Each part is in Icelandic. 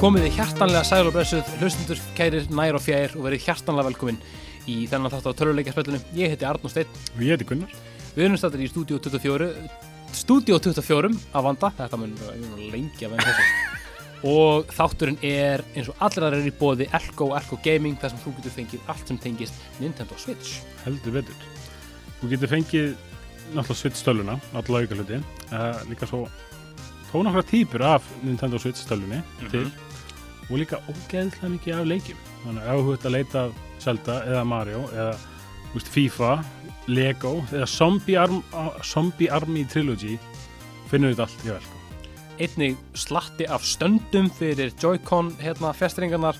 komið þið hjartanlega sæl og blessuð hlustundur, kærir, nær og fjær og verið hjartanlega velkomin í þennan þátt á töluleikjarspöllinu. Ég heiti Arnó Steinn, Og ég heiti Gunnar. við erum stættir í Studio 24, Studio 24 að vanda, þetta mun ég mun að lengja með þessu. Og þátturinn er eins og allir aðra er í bóði Elko og Elko Gaming þar sem þú getur fengið allt sem tengist Nintendo Switch. Heldur betur. Þú getur fengið náttúrulega Switch stöluna, alla auka hluti, uh, líka svo þó nokkra típur af Nintendo Switch stölunni til og líka ógeðslega mikið af leikjum. Þannig að ef þú ert að leita að Zelda eða Mario eða þú veist, FIFA, Lego eða Zombie, Arm, uh, Zombie Army Trilogy finnur þetta allt í vel. sko. einnig slatti af stöndum fyrir Joy-Con hérna festringarnar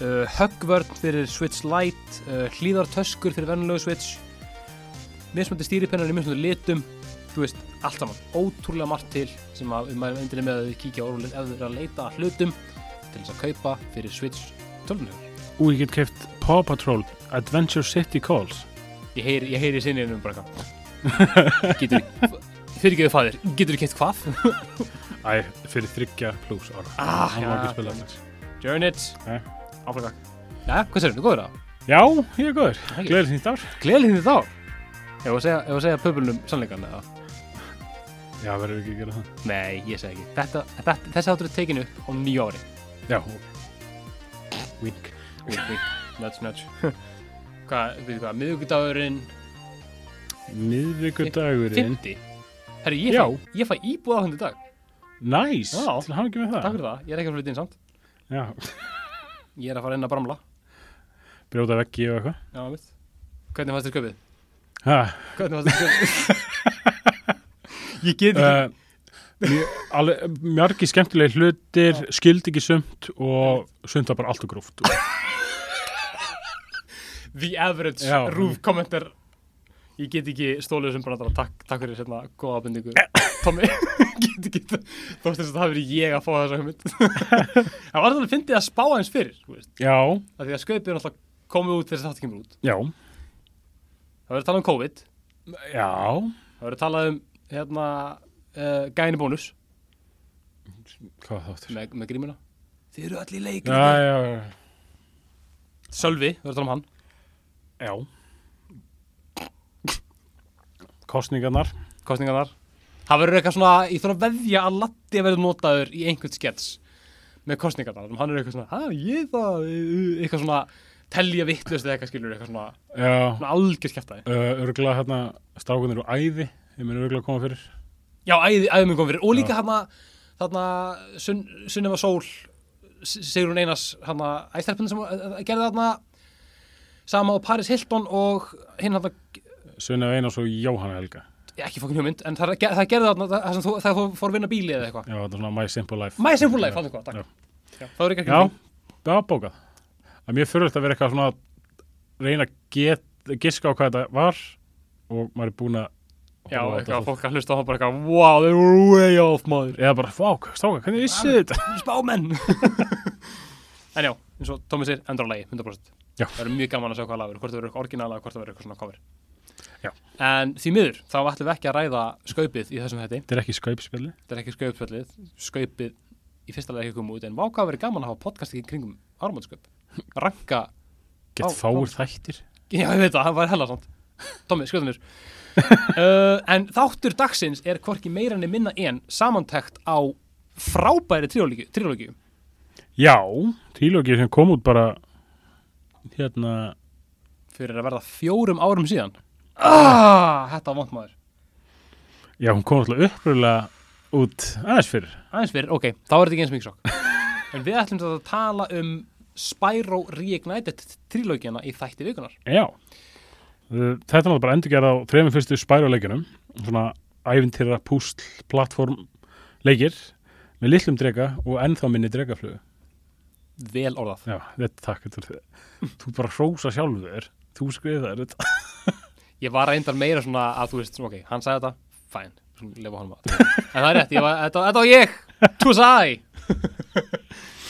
uh, höggvörn fyrir Switch Lite uh, hlýðartöskur fyrir venulegu Switch mismöndi stýripennar í mismöndi litum þú veist, allt saman, ótrúlega margt til sem að við mælum endur með að við kíkja orðulegt ef þið eru að leita að hlutum til þess að kaupa fyrir Switch 12 Og ég get keft Paw Patrol Adventure City Calls. ég heyri, ég heyri sinni um bara eitthvað getur, fyrirgeðu fæðir getur þú keitt hvað? Æ, fyrir þryggja pluss ára. Ah, Hann má já, ekki spila þetta. Journey it, Nei. áfram gang Jæja, hvað sérum, þú góður það? Já, ég er góður. Ægir. Gleðið nýtt ár. Gleðið þið þá Ef að segja, ef að segja pöbulnum sannleikan eða Já, verður ekki að gera það. Nei, ég segi ekki þetta, þetta, Þessi áttur er tekin upp á nýju ári Já, ok. Wink. Wink, wink, nudge, nudge Hvað, við hvað, miðvíkudagurinn Miðvíkudagurinn. 50 Herri, ég fæ, ég fæ íbúð á hundi dag Næs, Já. til hafa ekki með Takk það. fyrir það, ég er ekki að flytja inn samt Já, Ég er að fara inn að bramla brjóta veggi og eitthvað. Já, mitt Hvernig fannst þér köpið? Ha, Hvernig fannst þér köpið? ég get ekki uh, mjög- alveg- Mjargi skemmtilegi hlutir, skildi ekki sumt og sumt var bara allt og gróft. The average Já. roof commenter Ég get ekki stólið sem brandara Takk, takk fyrir sérna, góða ábendingu Tommi, get ekki Þóttist að það hafi verið ég að fá þessa hugmynd Það var þetta að fyndið að spá eins fyrir þú veist, Já, að Því að skaupið er alltaf komið út þess að þetta kemur út já, Það verður talað um COVID já, Það verður talað um hérna, uh, gæni bónus hvað þáttur? með, með grímuna Þið eru allir leik Já, já, já, Sölvi, það verður talað um hann já. Kostningarnar. kostningarnar það verður eitthvað svona, ég þarf að veðja að Latti verður notaður í einhvern skets með kostningarnar, hann er eitthvað svona að ég það, uh, eitthvað svona telja vittlust eða eitthvað skilur eitthvað svona, Já, svona algjör skeftaði uh, örgulega hérna strákunir og æði ég mun örgulega koma fyrir já, æði, æði minn kom fyrir, og líka hann þarna, sun, Sunnefa Sól segur hún Einars hann að æstelpunni sem eh, gerði þarna sama á Paris Hilton og hinn hann Sunna Einars og Jóhanna Helga ekki fokkin hugmynd, en það, það gerði þarna það, það sem þú, það þú fór að vinna bíli eða eitthvað já, þetta er svona My Simple Life My Simple Life, hann eitthvað, Já. takk Já, það voru ekki já, já, bókað það er mjög fyrirlegt að vera eitthvað svona að reyna að get, giska á hvað þetta var og maður er búin að Já, horfa á eitthvað, þetta. fólk að hlusta á það bara eitthvað Wow, they were way off, maður eða bara, fák, stráka, hvernig vissi þetta Spámenn En já, eins og Tómi sér, endur á lagi, 100% Já. Það verður mjög gaman að sjá hvað lagur Hvort það verður eitthvað orginala, hvort það verður eitthvað svona cover Já. En því miður, þá ætlum við ekki að ræða skaupið í þessum hætti þetta er ekki skaupspili Þetta er ekki skaupspjallið Skaupið í fyrsta lagi ekki koma út En vákað verið gaman að hafa podcast ekki kringum áramótskaup Ranka get Vá, fáir þættir Já, ég veit það, það var hella samt Tómi, skjóðum mér uh, En þáttur dagsins er hvorki meira enn minna en samantækt á frábæri trilógíu já, trílógið sem kom út bara hérna fyrir að verða fjórum árum síðan ah, Þetta var vant maður já, hún kom alltaf uppröðlega út aðeins fyrir Aðeins fyrir, ok, þá er þetta ekki eins mikið sjokk En við ætlum þetta að tala um Spyro Reignited trilógíuna í þætti vikunar Já, Uh, þetta er náttúrulega bara endurgerð á þrejum fyrstu spæruleikunum, svona æfintýra, púsl, plattform, leikir með litlum drega og ennþá minni dregaflögu. Vel orðað Já, þetta takk, þetta er þetta. Þú bara hrósa sjálfur þér, þú skriðar þetta. Ég var reyndar meira svona að þú veist, ok, hann sagði þetta, fæn Lefa honum að En það er rétt, ég var, þetta, þetta var ég Þú sagði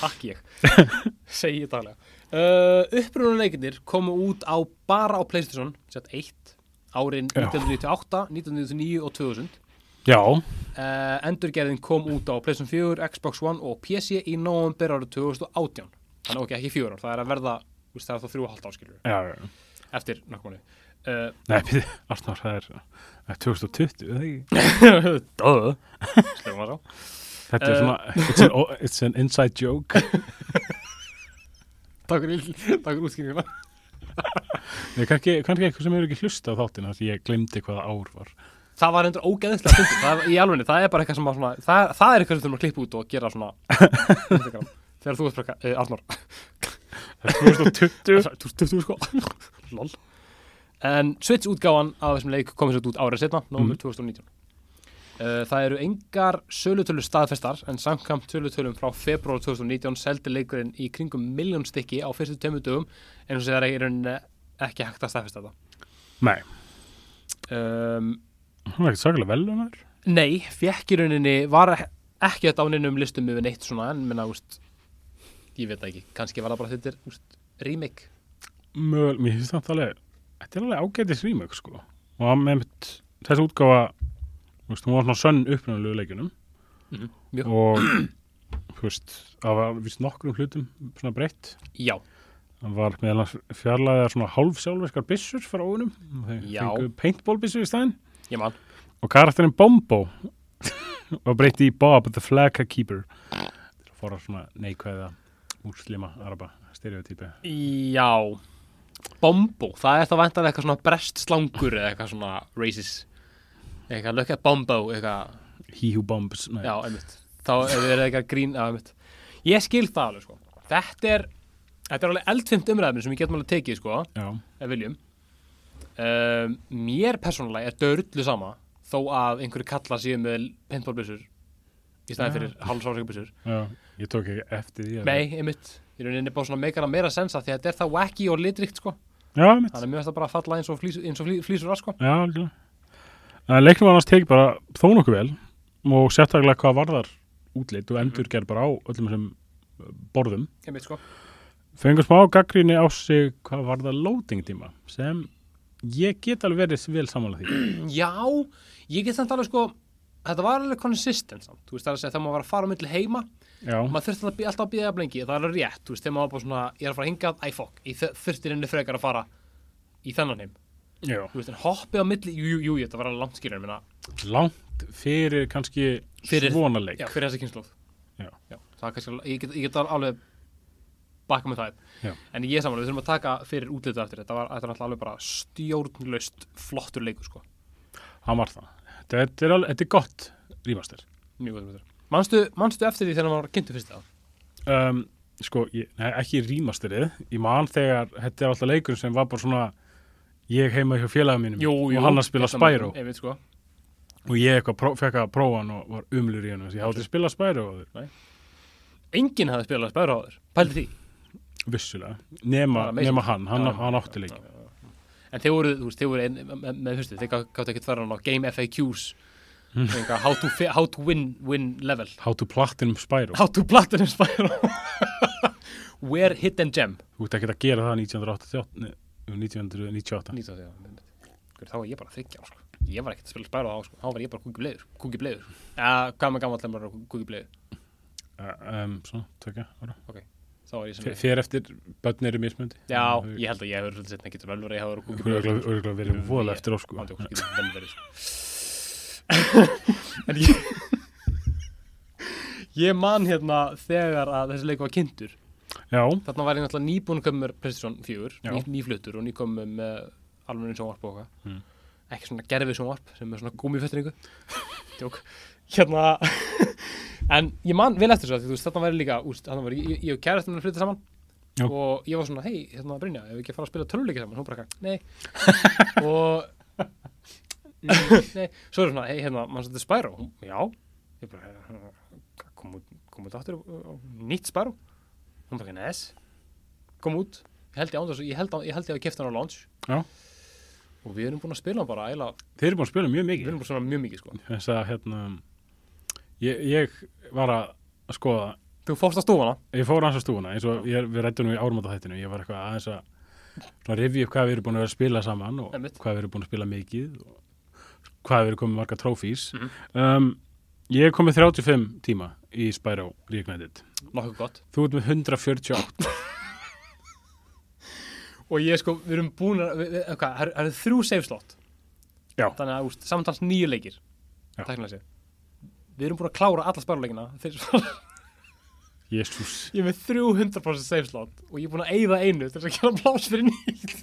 Takk ég Segi ég daglega uh, Upprunaleikinir komu út á bara á Playstation Sett 1 Árin Já. 1998, 1999 og 2000 Já, Uh, endurgerðin kom út á PlayStation 4, Xbox One og PC í november árið 2018 þannig ok, ekki fjögur ár, það er að verða þú veist, það er þá þrjú og halvt áskilur já, já, já. eftir nokkumanni uh, Nei, býði, Arnar, það er það er 2020, er það ekki? Döðu Slefum að sá Þetta er Eh. svona, it's an, oh, it's an inside joke. Takk fyrir, takk fyrir útskýringuna Nei, kannski, kannski eitthvað sem eru ekki hlusta á þáttina því ég glemdi hvaða ár var. Það var endur ógeðislega stundu það, Í alvegni, það er bara eitthvað sem að svona, það, það er eitthvað sem þurfum að klippa út og gera svona Instagram. Þegar þú ert frekka, uh, Arnór Það er 2020. Þú ert tuttugu, sko Lol En Switch útgáfan af þessum leik komið sér út árið setna, nómur 2019 Uh, það eru engar sölutölur staðfestar en samkvæmt sölutölum frá februar 2019 seldi leikurinn í kringum miljón stykki á fyrstu tömmu dögum eins og það er í rauninni ekki hægt að staðfesta þetta Nei, um, hún var ekkert sakalega vel um þær. Nei, fekk í rauninni var ekki þetta á neinum listum yfir neitt svona en minna, úst, ég veit það ekki, kannski var það bara þetta er úst, remake Mögul, mér finnst þetta alveg, þetta er alveg ágætis rýmök, sko. Og hann með mitt, þessi útgáfa, þú veist, hún var svona sönn uppnæðulegu leikunum Mjög, og, þú veist, það var vist nokkrum hlutum svona breytt. Já, Það var meðal annars fjarlæðar svona hálf sjálfverskar byssur frá óunum. Þeir Já. fengu paintballbyssu í staðinn. ég man Og karakterinn Bombo var breytti í Bob the Flag Keeper. Til að fóra svona neikvæða múslima araba stereotypi. Já, Bombo, það er það vantar eitthvað svona brest slangur eða eitthvað svona racist eitthvað lökkað Bombo eitthvað, He who bombs. Nei. já, einmitt þá er það eitthvað grín, já, einmitt Ég skil það alveg, sko, þetta er þetta er alveg eldfimt umræðum sem við getum alveg tekið, sko Já. ef viljum um, mér persónulega er dörrullu sama þó að einhverju kalla síðan með paintballbissur í Já. staðin fyrir hálfsársakurbissur Já. Ég tók ekki eftir því. að- nei, einmitt, í rauninni bara svona meikana meira sensa því að þetta er það wacky og litrikt sko Já, mitt. þannig að mér finnst það bara að falla eins og, flýs, eins og flý, flýsur að sko Já, algjörlega. En leiknum var annars tekið bara þó nokkuð vel og sérstaklega hvað varðar útlit Mhm. og endurgerð bara á öllum þessum uh, borðum. einmitt sko, fengur smá gaggríni á sig hvað var það loading tíma sem ég get alveg verið vel samanlega því já ég get samt alveg sko þetta var alveg consistent samt, þú veist það er að segja þegar maður var að fara á milli heima já, og maður þurfti alltaf að bí- alltaf að býða lengi það er alveg rétt, þú veist, þegar maður var bara svona ég er að fara hingað, æ fokk, ég þur- þurfti henni frekar að fara í þennan heim já. þú veist, en hoppið á milli, jú, jú, jú, þetta var alveg langt skilur, minna, langt fyrir kannski Fyrir- svona leik já, fyrir þessi kynnslóð. Já. það er kannski, alveg- ég get, ég get alveg bakka með það. Já. En ég er saman, við þurfum að taka fyrir útlitið eftir þetta, var, þetta var náttúrulega alveg bara stjórnlaust flottur leikur, sko. hann var það þetta er, alveg, þetta er gott rýmastir Mjög góður með þetta. Manstu, manstu eftir því þegar maður kynntu fyrst það? um, sko, ég, nei, ekki rýmastirið ég man þegar, þetta er alltaf leikur sem var bara svona ég heima hjá félagum mínum og hann að spila Ég man- Spyro Ég veit, sko. og ég eitthvað pró, fekk að prófa hann og var umlur í hann ég hafði spilað Spyro áður, Enginn hafði spilað Spyro á þér, pældi því. vissulega Það nema, var amazing. nema hann, Já, hann, já, hann átti leik En þeir voru, þú veist, þeir voru ein, með, með fyrstu, þeir gá- gátt ekki tverjan á Game FAQs, Hmm. eitthvað, how, to, fi- how to win, win level. How to Platinum Spyro How to Platinum Spiral Where Hidden Gem Þú ert ekki að gera það 1988 nei, 1998 Nýta því að Hver, Þá var ég bara þryggja sko. Ég var ekkert að spila Spiral þá sko. Þá var ég bara kúkibleiður Kúkibleiður Eða gaman gaman allir bara kúkibleiður Uh, um, Svona, tökja ára Þá var ég sem F- Fyrir eftir, börn eru mismöndi Já, ég held að ég hefur svolítið setna getur vel verið Ég hefur Þú eru kúkibleiður örgulega verið voða eftir á sko Mándi okkur getur vel verið sko. En ég Ég man hérna þegar að þessi leik var kynntur Já, Þarna var ég náttúrulega nýbúin að koma með PlayStation 4, Já. ný, nýfluttur og nýkom með almennin sjónvarp og eitthvað. Mm. Ekki svona gerfið sjónvarp sem er svona gúmifettringu. Tjók. Hérna, en ég man vel eftir svo að þú veist, þarna var ég líka, úst, þarna var ég, ég, ég og kærastin minn að flytja saman Já. og ég var svona, hei, hérna Brynja, ef við ekki að fara að spila töluleiki saman, hún bara ekki, nei. og, nei, svo er svona, hei, hérna, mann svolítið Spyro, hún, já, ég bara, "Hérna, kom út, kom út aftur, og- og- nýtt Spyro, hún bara, nes, kom út ég held ég án þess að ég held, ég held ég að kefta hann á launch Já. og við erum búin að spila hann bara æla, þeir eru búin að spila mjög við mikið erum bara svona mjög mikið sko Þess að hérna Ég, ég var að skoða þú fórst að stúfana Ég fór aðeins á stúfuna eins og ég, við rættum í árum á þættinu Ég var eitthvað aðeins að svona, rifja upp hvað við erum búin að vera að spila saman og Einmitt. hvað við erum búin að spila mikið og hvað hefur komið marga trófís Mhm. um, ég hef komið 35 tíma í Spyro Reignited nokkuð gott þú ert með 148 og ég sko, við erum búin að við- við- hvað, það eru- það eru þrjú save slot Já. þannig að úst, samtals nýju leikir Já. tæknilega sér við erum búin að klára alla spærleikina ég jésús er með 300% save slot og ég er búin að eyða einu til þess að gera pláss fyrir nýtt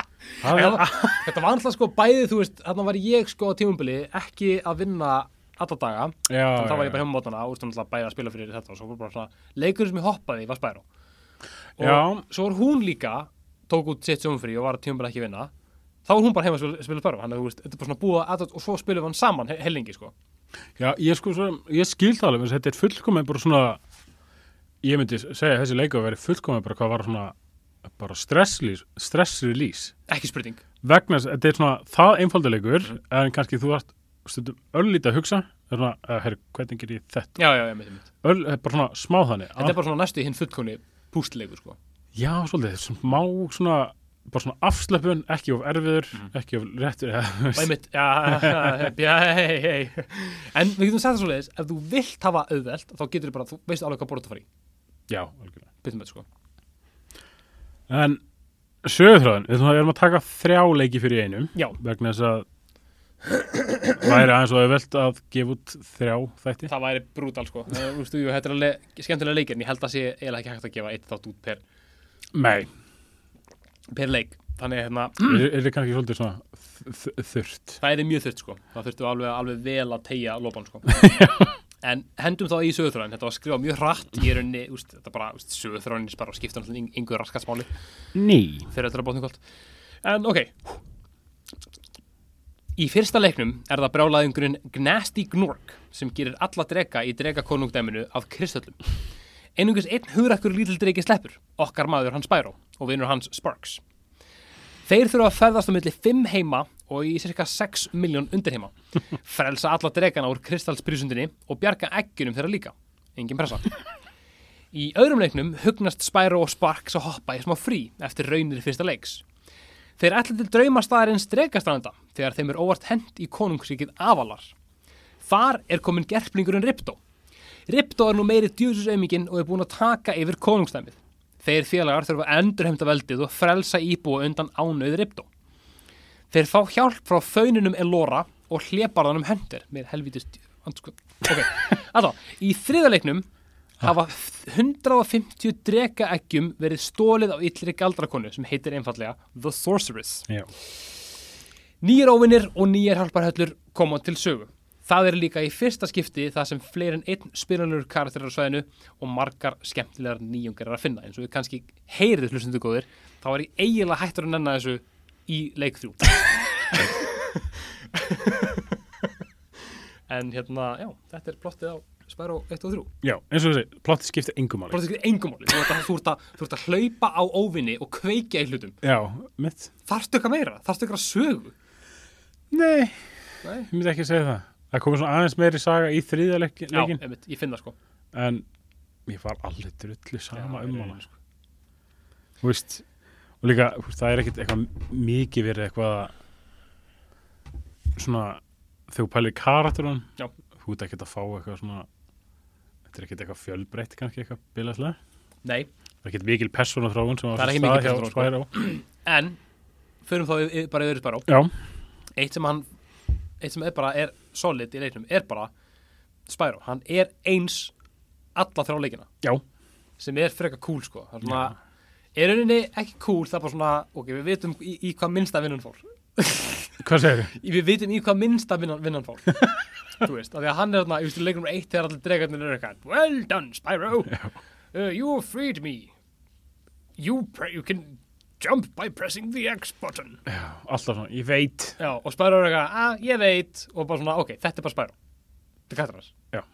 það En er þarna- þetta var alltaf sko bæðið þú veist þarna var ég sko á tímumbili ekki að vinna alla daga þannig já, að það var ég já, bara heimumótana og úrstum alltaf bæðið að spila fyrir þetta og svo var bara svona leikurinn sem ég hoppaði í var Spyro og Já. svo var hún líka tók út sitt sjónfrí og var að tímumbili ekki að vinna þá var hún bara heima að spila, spila Spyro þannig að þú veist, þetta er bara svona búið að og svo spilum við hann saman he- hellingi sko já, ég, sko, svo, ég skil það alveg þess að þetta er fullkomið bara svona ég myndi segja að þessi leiku veri fullkomið bara hvað var svona bara stress release, stress release. ekki spurning vegna þess að þetta er svona það einfaldilegur Mhm. en kannski þú ert stundum öllítið að hugsa það er svona, uh, herri, hvernig ger ég þetta já, já, já, mitt, mitt. Öl, það er bara svona smá þannig þetta er bara svona næstu í hinn fullkóni pústleikur sko Já, svolítið, smá svona bara svona afslöpun, ekki of erfiður Mhm. ekki of réttur eða, þú og veist. einmitt, já, já, hei, hei en við getum sagt það svoleiðis, ef þú vilt hafa auðvelt, þá getur bara, þú veist alveg hvað borð þú fari, Já, algjörlega byrjum þetta sko En sögurþráðin, við erum að taka þrjá leiki fyrir í einum já, vegna þess að væri aðeins og auðvelt að gefa út þrjá þætti það væri brútal sko Það er, úrstu, jú, þetta er alveg skemmtilega leikir en ég held að sé eiginlega ekki hægt að gefa eitt þátt út per, Nei, per leik þannig að hérna, mm. er, er kannski svolítið svona þ- þ- þurrt það er mjög þurft sko það þurftum við alveg, alveg vel að tegja lopan sko en hendum þá í sögurþráðin þetta var skrifað mjög hratt í rauninni úst, þetta bara úst, sögurþráðin er bara að skipta yngur raskatsmáli Ný fyrir þetta er að bóðnum kvöld en ok í fyrsta leiknum er það brjálæðingurinn Gnasty Gnork sem gerir alla drega í dregakonungdæminu af kristöllum einungis einn hurakkur lítil dregi sleppur okkar maður hans Spyro og vinur hans Sparks þeir þurfa að ferðast á milli 5 heima og í cirka 6 miljón undirheima frelsa alla dregana úr kristalsbrísundinni og bjarga eggjunum þeirra líka engin pressa Í öðrum leiknum hugnast Spyro og Sparks að hoppa í smá frí eftir raunir fyrsta leiks. Þeir ætla til draumastæðarins dregastranda þegar þeim er óvart hent í konungsríkið Avalar. Þar er komin gerflingurinn Ripto. Ripto er nú meiri djúsusauðmingin og er búin að taka yfir konungstæmið. Þeir félagar þurfa að endurheimta veldið og frelsa íbúa undan ánauð Ripto. Þeir fá hjálp frá fauninum Elora og hlebarðanum Hunter með helvítist... Ok, alltaf, í þriða leiknum hafa 150 drekaeggjum verið stólið á yllri galdrakonu sem heitir einfallega The Sorceress. Já, Nýjir óvinnir og nýjir halparhöllur koma til sögu. Það er líka í fyrsta skipti það sem fleiri en einn spilanur karakter er á svæðinu og margar skemmtilegar nýjungar er að finna. eins og við kannski heyrið hlustundu góðir, þá er ég eiginlega hættur að nenna þessu í leik þrjú. en hérna, já, þetta er plottið á Spyro 1 og 3. Já eins og þessi, plotti skiptir engum máli Bara það skiptir engum máli. Þú ert að, þú ert að, þú ert að hlaupa á óvinni og kveikja í hlutum. Já, mitt Þarftu eitthvað meira? Þarftu eitthvað sögu? Nei, Nei. ég myndi ekki segja það. Það komið svona aðeins meiri saga í þriðja leik- Já, leikin, einmitt, ég finn það sko. en ég var alveg drullu sama Já, í um rauninni, hana. Sko. Þú veist, og líka, þú veist, það er ekkit eitthvað mikið verið eitthvað svona, þegar þú pælir í karakterun, Já. þú ert ekkit að fá eitthvað svona, þetta er ekkit eitthvað fjölbreytt kannski eitthvað bilaðslega. Nei, Það er ekkit mikil persónaþróun sem Það er ekki mikil persónuþróun, sko. persónaþróun. en förum þá yfir- yfir- bara yfir Sparrow Já, eitt sem hann eitt sem er bara er solid í leiknum er bara Spyro, hann er eins alla þrjá leikina já, sem er frekar cool sko það er svona, er rauninni ekki cool það er bara svona, ok, við vitum í, í hvað minnsta vinnan fór hvað segir þau? Í- við vitum í hvað minnsta vinnan, vinnan fór þú veist, af því að hann er þarna, ég veist, í leikum eitt þegar allir dregarnir eru eitthvað well done Spyro, uh, you freed me you, pre- you can jump by pressing the X button Alltaf svona, ég veit. Já, og Spyro er eitthvað, að ég veit og bara svona, ok, þetta er bara Spyro Þetta er kattrar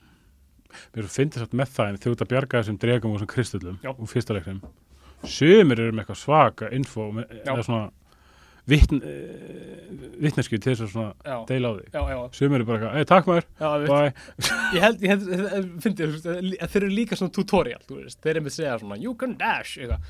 Mér finnst þess að með það en þú ert að bjarga þessum dregum og þessum kristullum Já. úr fyrsta leiknum. Sumir eru með eitthvað svaka info með, Já. eða svona vitn, uh, vitnesku til þess að svona Já, deila á því. já, já, Sumir eru bara eitthvað, ei, takk maður, já við, bye. Ég held, ég held, eh, eh, fyndi, þú veist, eh, li- þeir eru líka svona tutorial, þú veist Þeir eru með að segja svona, you can dash, eitthvað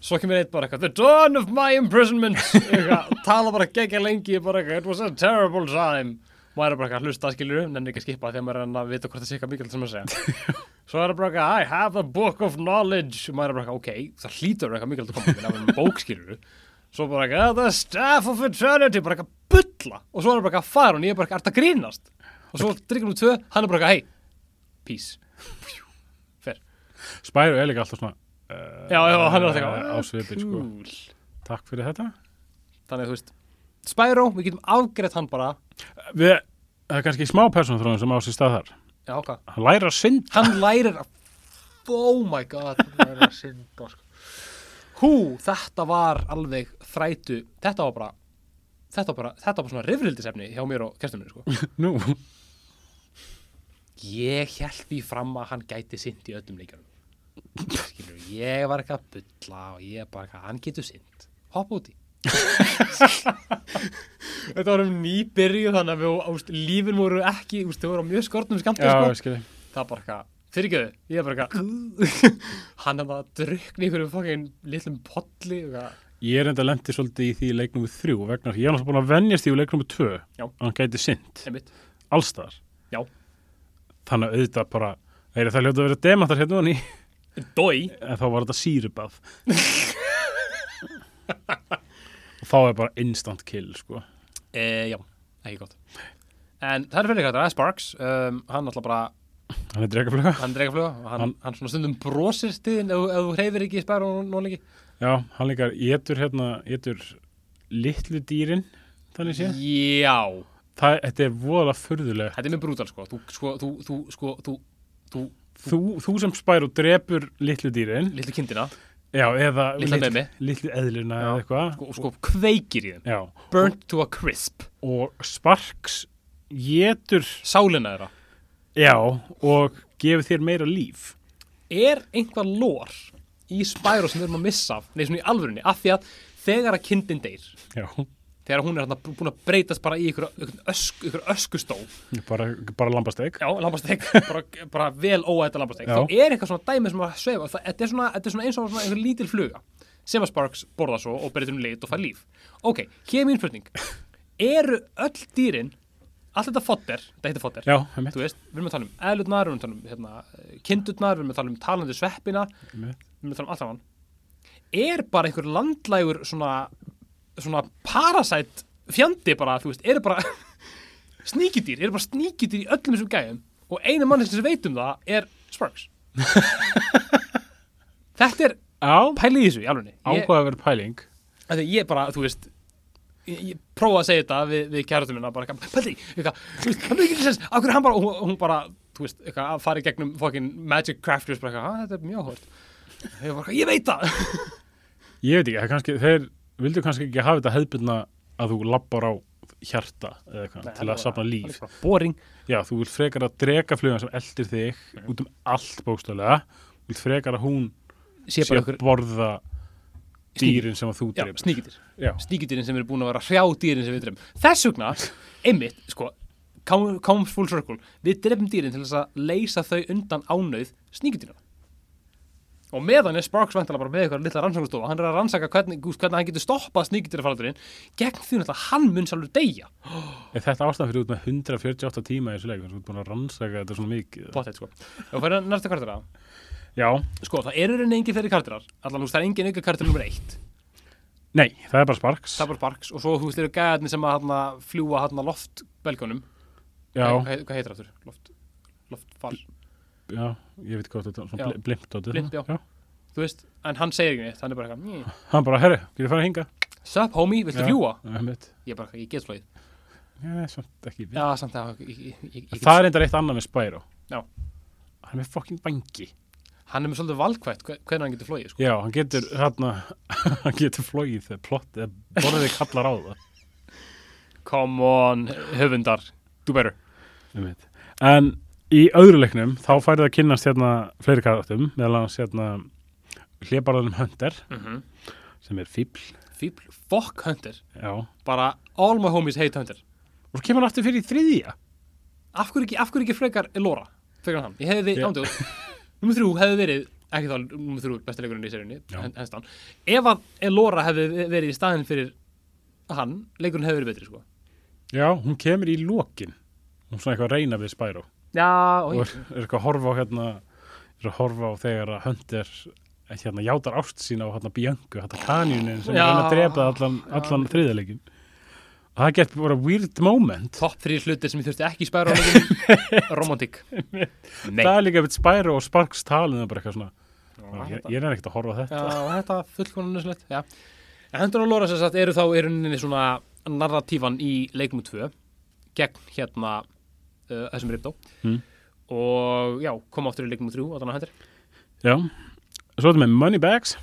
svo kemur eitt bara eitthvað The dawn of my imprisonment eitthvað, tala bara gegja lengi bara eitthvað, it was a terrible time maður er bara eitthvað að hlusta skilur en ekki að skipa þegar maður er enn að vita hvort það sé eitthvað mikilvægt sem að segja svo er það bara eitthvað I have a book of knowledge maður er bara eitthvað, ok, það hlýtur að vera eitthvað mikilvægt að koma með nefnum bók skilur svo bara eitthvað, the staff of eternity bara eitthvað bulla og svo er það bara eitthvað að fara og ég er bara eitthvað, ert að grínast og svo drikkum við tvö, hann er bara eitthvað, hey peace, fer Spyro er líka alltaf svona uh, Já, já, hann er alltaf eitthvað, "Ah, á svipin sko. cool. Takk fyrir þetta Þannig að þú veist Spyro, við getum afgreitt hann bara Við, það er kannski smá persónþróun sem á sér stað þar Já, hvað? Hann læra að synda Hann lærir að Oh my god, hann lærir að synda sko. Hú, þetta var alveg þrætu Þetta var bara Þetta var bara, þetta var bara svona rifrildisefni hjá mér og kerstum minni sko. Nú, Ég held því fram að hann gæti synd í öllum leikjum Skilur, ég var eitthvað að bulla og ég bara eitthvað, hann getur synd Hoppa úti Þetta var um nýbyrju þannig að við, ást, lífin voru ekki, úst, þau voru á mjög skortnum skammt já, ég sko. skilji það er bara eitthvað fyrirgjöðu, ég er bara eitthvað hann er bara að drukna í hverju fokkin litlum polli og eitthvað Ég er enda lendi svolítið í því í leiknum við þrjú vegna þess að ég er náttúrulega búin að venjast því í leiknum við tvö Já. að hann gæti synd einmitt, allstaðar já, þannig að auðvitað bara er það hljóta að vera demantar hérna og ný dói en þá var þetta sírubað og þá er bara instant kill sko. e, já, ekki gott en það er fyrir eitthvað, það er Sparks um, hann alltaf bara, hann er dregaflöga hann dreika fluga og hann, hann, Hann- svona stundum brosir stiðin ef, ef þú hreyfir ekki í spæru og nóg lengi já, hann líka getur hérna getur litlu dýrin þannig sé já, það, þetta er voðalega furðulegt þetta er mjög brútal sko þú, sko, þú, þú, sko, þú, þú þú, þú sem spær og drepur litlu dýrin litlu kindina já, eða Litla litl- memi. litlu eðluna Já. eða eitthvað sko, sko kveikir í þeim, já, burnt to a crisp og sparks getur sálina þeirra já, og gefur þér meira líf er einhvað lór í Spyro sem við erum að missa af, nei svona í alvörunni, af því að þegar að kindin deyr, já, þegar hún er hérna bú- búin að breytast bara í ykkur, ykkur, ösk, ykkur öskustó bara, bara lambasteg já, lambasteg, bara, bara vel óæta lambasteg, Já. þá er eitthvað svona dæmi sem að svefa, það, þetta, er svona, þetta er svona eins og svona einhver lítil fluga sem að Sparks borða svo og breytir um lit og fær líf ok, hér er mín spurning eru öll dýrin allt þetta fodder, þetta heitir fodder já, einmitt. þú veist, við erum að tala um eðlutnar, við erum að tala um hérna, kindutnar, við erum að tala um talandi sveppina, Einmitt. við erum að tala um allt saman. Er bara einhver landlægur svona, svona parasæt fjandi bara, þú veist, eru bara sníkidýr, eru bara sníkidýr í öllum þessum gæðum og einu mann sem veit um það er Sparks. Þetta er já, pælið í þessu, í alveg. áhugaverð pæling Þegar ég bara, þú veist ég, ég prófa að segja þetta við, við kærtum minna bara, eitthvað, pældi, í, eitthvað, þú veist, það er mikil sens af hverju hann bara, og hún, hún bara, þú veist eitthvað, að fara í gegnum fokkin Magic Crafters bara eitthvað, "Ha, þetta er mjög hórt ég, bara, eitthvað, ég veit það Ég veit ekki, það er kannski, þeir vildu kannski ekki hafa þetta hefðbundna að þú labbar á hjarta eða eitthvað til að safna líf. boring, Já, þú vilt frekar að drega flugan sem eldir þig út um allt bókstöðlega, þú vilt frekar að hún sé sé bara að ykkur borða dýrin sem að þú drefur. sníkitir, Já, sníkitirin sem eru búin að vera hrjá dýrin sem við drefum, þess vegna einmitt, sko, come- comes full circle við drefum dýrin til þess að leysa þau undan ánauð sníkitirina og meðan er Sparks vantala bara með eitthvað litla rannsakastofa, hann er að rannsaka hvernig, gúst, hvernig hann getur stoppað sníkitirafaldurinn gegn því náttúrulega að hann mun sálur deyja er þetta ástæðan fyrir út með 148 tíma í þessu leik, þannig að þú ert búin að rannsaka þetta svona mikið. eða? Pottet, sko. og fyrir næsta kvartara Já, sko, það eru reyni engin fyrir kvartarar allan, þú veist, það er engin auka kvartar nummer eitt nei, það er bara sparks. það er bara Sparks og svo, þú veist, eru gæðarnir sem að hana, fljúa hana loftbelgunum Já, hvað, hvað heitir aftur? Loft, loftfall já, ég veit hvað þetta er, svona Já. blimpt á þetta. Blimp, já. þú veist, en hann segir ekki neitt, hann er bara eitthvað "Mm, Hann bara, herri, getur farið að hinga? Sup homie, viltu fljúa? Já, einmitt. Ég bara, eitthvað, ég get flóið Já, samt ekki. Já, samt að ég, ég, ég, ég En get það er reyndar eitt annað með Spyro Já. Hann er með fucking bangi Hann er með svolítið valkvætt hve- hvernig hann getur flóið sko. Já, hann getur hérna Hann getur flóið þegar plott eða borðið kallar á það Come on, höfundar Do better Einmitt. En í öðru leiknum þá færið að kynnast hérna fleiri karaktum meðal annars hérna hlébarðanum Hunter mm -hmm. sem er fíbl Fíbl, fuck hunter Já. og Bara, all my homies hate hunter svo kemur hann aftur fyrir í þriðja Af hverju ekki, af hverju ekki frekar Elora? Frekar en hann, ég hefði, Ég- yeah. ándjóð Númer þrjú hefði verið ekki þá nummer þrjú besti leikurinn í seríunni Já. hen- henslan, ef að Elora hefði verið í staðin fyrir hann, leikurinn hefði verið betri sko Já, hún kemur í lokin Hún er svona eitthvað að reyna við Spyro Já, og er, er eitthvað að horfa á hérna er að horfa á þegar að hönd er hérna játar ást sína á hérna Biancu, hérna kanjunin sem er Já. að reyna að drepa allan, allan þriðaleikin og það gett bara weird moment topp þrý hlutir sem ég þurfti ekki spæra á leikurinn romantik Nei, það er líka við Spyro og Sparks talin og bara eitthvað svona, Já, ég, þetta- ég er ekkert að horfa á Já, þetta og þetta fullkonan nöðslegt Já, en hendur og Lóra sem sagt eru þá í rauninni svona narratífan í leikum 2 gegn hérna uh, þessum riptó Mm. og já, koma áttur í leikum 3 á þannig hendur Já, svo þetta með Moneybags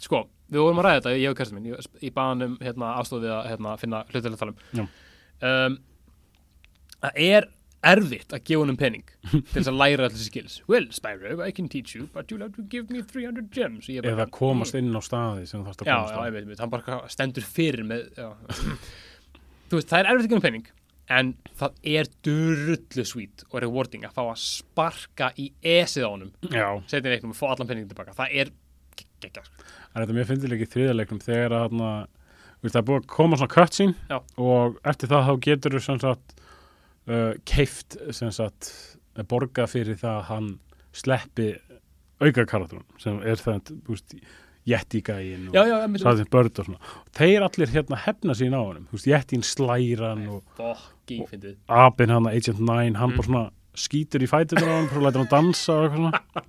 Sko, við vorum að ræða þetta, ég og Kerstin minn ég, ég baðan um hérna, aðstofið að hérna, finna hlutilega talum Já. um, Það er erfitt að gefa honum pening til þess að læra allir skills Well, Spyro, I can teach you, but you'll have to give me 300 gems Ég bara- "Mm." eða komast inn á staði sem þú þarfst að já, komast já, á ég veit, veit, hann bara stendur fyrir með, já. þú veist, það er erfitt að gefa um penning en það er durullu sweet og rewarding að fá að sparka í esið á honum Já, setja leiknum og fá allan penning tilbaka það er sko. geggja en þetta mér finnst líka í þriðaleikum þegar að hérna, þú veist, það er búið að koma svona cutscene Já. og eftir það þá getur þú sem sagt uh, keift sem sagt að borga fyrir það að hann sleppi auka karatúrun sem er það, þú veist, jettigæin já, og já, já, mér saðin börd og svona og þeir allir hérna hefna sín á honum þú veist, jettin slæran og fokking fyndið apinn hann, Agent 9, hann Mm. bara svona skýtur í fætunar á hann, prófa að læta hann dansa og eitthvað svona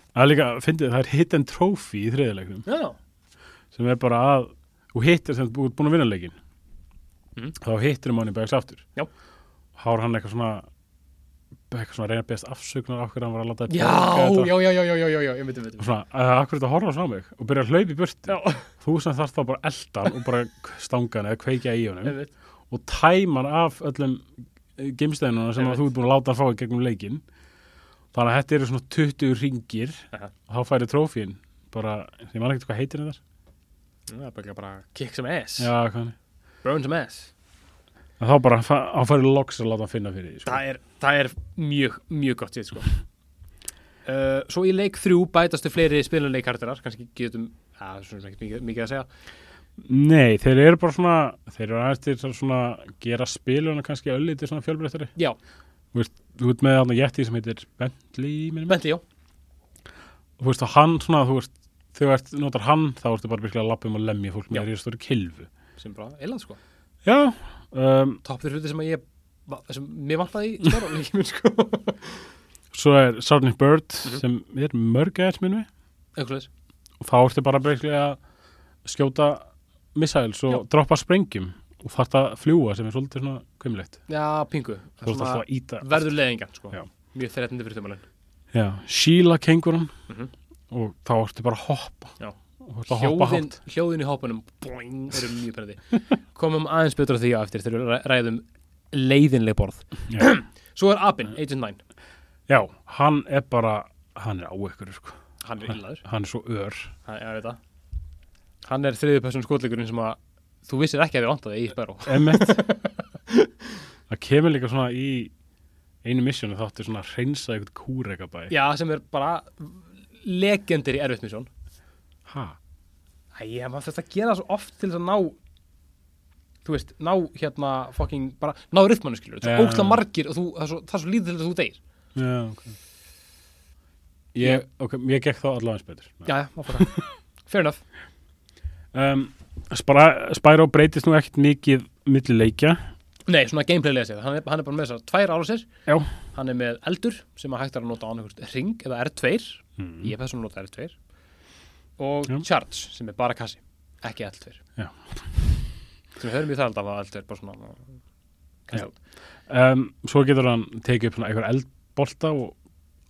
það er líka, fyndið, það er hit and trophy í þriðilegnum já, sem er bara að og hittir sem búið búin að vinna leikin Mhm. þá hittir um hann í bæðis aftur Já. hár hann eitthvað svona eitthvað svona að reyna að beðast afsöknar af hverju hann var að láta þér já, borga þetta. já, já, já, já, já, já, já, ég veit, ég veit og svona, að akkur þetta horfa svo á mig og byrja að hlaupa í burtu já, þú sem þarf þá bara eldan og bara stanga hann eða kveikja í honum ég veit, og tæma hann af öllum gimsteinuna sem Ég að veit. þú ert búin að láta hann fá í gegnum leikin þannig að þetta eru svona 20 ringir Aha. og þá færi trófín bara, ég man ekkert hvað heitir þetta það er bara- bara kick some ass, já, hvað hann er burn some ass En þá bara, hann fa- hann færi loks að láta hann finna fyrir því, sko. það er, það er mjög, mjög gott sétt sko. uh, svo í leik þrjú bætastu fleiri spilunleik kardinar kannski getum, að það er ekki mikið, mikið að segja Nei, þeir eru bara svona, þeir eru aðeins til að svona gera spiluna kannski öllítið svona fjölbreyttari. já, Þú ert með þarna jetti sem heitir Bentley, minnum. Bentley, já, Þú veist, og hann svona, þú veist, þegar ert, notar hann, þá ertu bara virkilega að lappa um og lemja fólk Já. með því að stóru kilfu. sem bara eilað sko Já, um, topp þér hluti sem að ég va- sem mér vantaði í spjáróleikum sko. svo er Sarnit Bird Mhm. sem er mörg aðeins, minnum við. eitthvað leis Og þá ertu bara virkilega að skjóta missiles og droppa sprengjum og þarft að fljúa sem er svolítið svona kvimleitt. já, pingu, Þú veist, Svona alltaf að íta verður leðingan sko. Já. mjög þrettandi fyrir tömalinn Já, síla kengurum Mhm. og þá ertu bara að hoppa Já. og ertu að hoppa hljóðin, hátt hljóðin í hópunum boing, eru mjög penandi komum aðeins betur að því á eftir þegar við ræ- ræðum leiðinleg borð Já. svo er Abin, Agent 9 Já, hann er bara hann er á ykkur, sko. hann er illaður hann er svo ör hann, já, ég veit það. hann er þriðið person skotleikurinn sem að þú vissir ekki að þið vantaði í Sparrow emmett það kemur líka svona í einu missjónu þáttu svona að reynsa eitthvað kúrekabæ já, sem er bara legendir í erfitt misjón ha, Æja, maður þurft að gera það svo oft til þess að ná þú veist, ná hérna fucking bara, ná rytmanu skilur það Já. er ógla margir og þú, það er svo, það er svo lítið til að þú deyr já, ok ég, ok, ég gekk þá allavega eins betur já, já, má bara fair enough um, Spra- Spyro breytist nú ekkert mikið milli leikja nei, svona gameplaylega séð, hann er, hann er bara með þess að tvær árásir Já. hann er með eldur sem að hægt er að nota á einhvern ring eða R2 mm. ég persónu nota R2 og Já. charge sem er bara kassi, ekki L2 Já. sem við höfum í það alltaf að L2 er bara svona Já. um, svo getur hann tekið upp svona einhver eldbolta og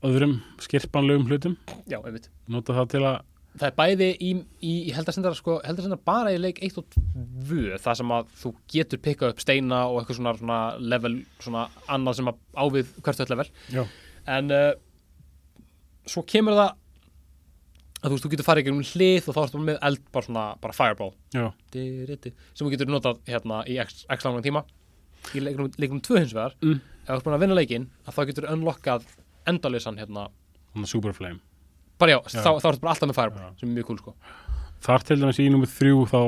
öðrum skirpanlegum hlutum já, einmitt nota það til að það er bæði í, í ég held að senda sko, ég held að senda bara í leik 1 og 2 það sem að þú getur pikkað upp steina og eitthvað svona, svona level svona annað sem að ávið hvert öll level já. en uh, svo kemur það að þú veist, þú getur farið í gegnum hlið og þá ertu bara með eld, bara svona, bara fireball Já. Di-di-di. sem þú getur notað hérna í x, x langan tíma í leiknum, leiknum 2 hins vegar Mm. ef þú ert búin að vinna leikinn, að þá getur unlockað endalösan hérna Þannig að Superflame bara já, Já. þá, þá er þetta bara alltaf með Fireball Já. sem er mjög cool sko Þar til dæmis í nummið þrjú þá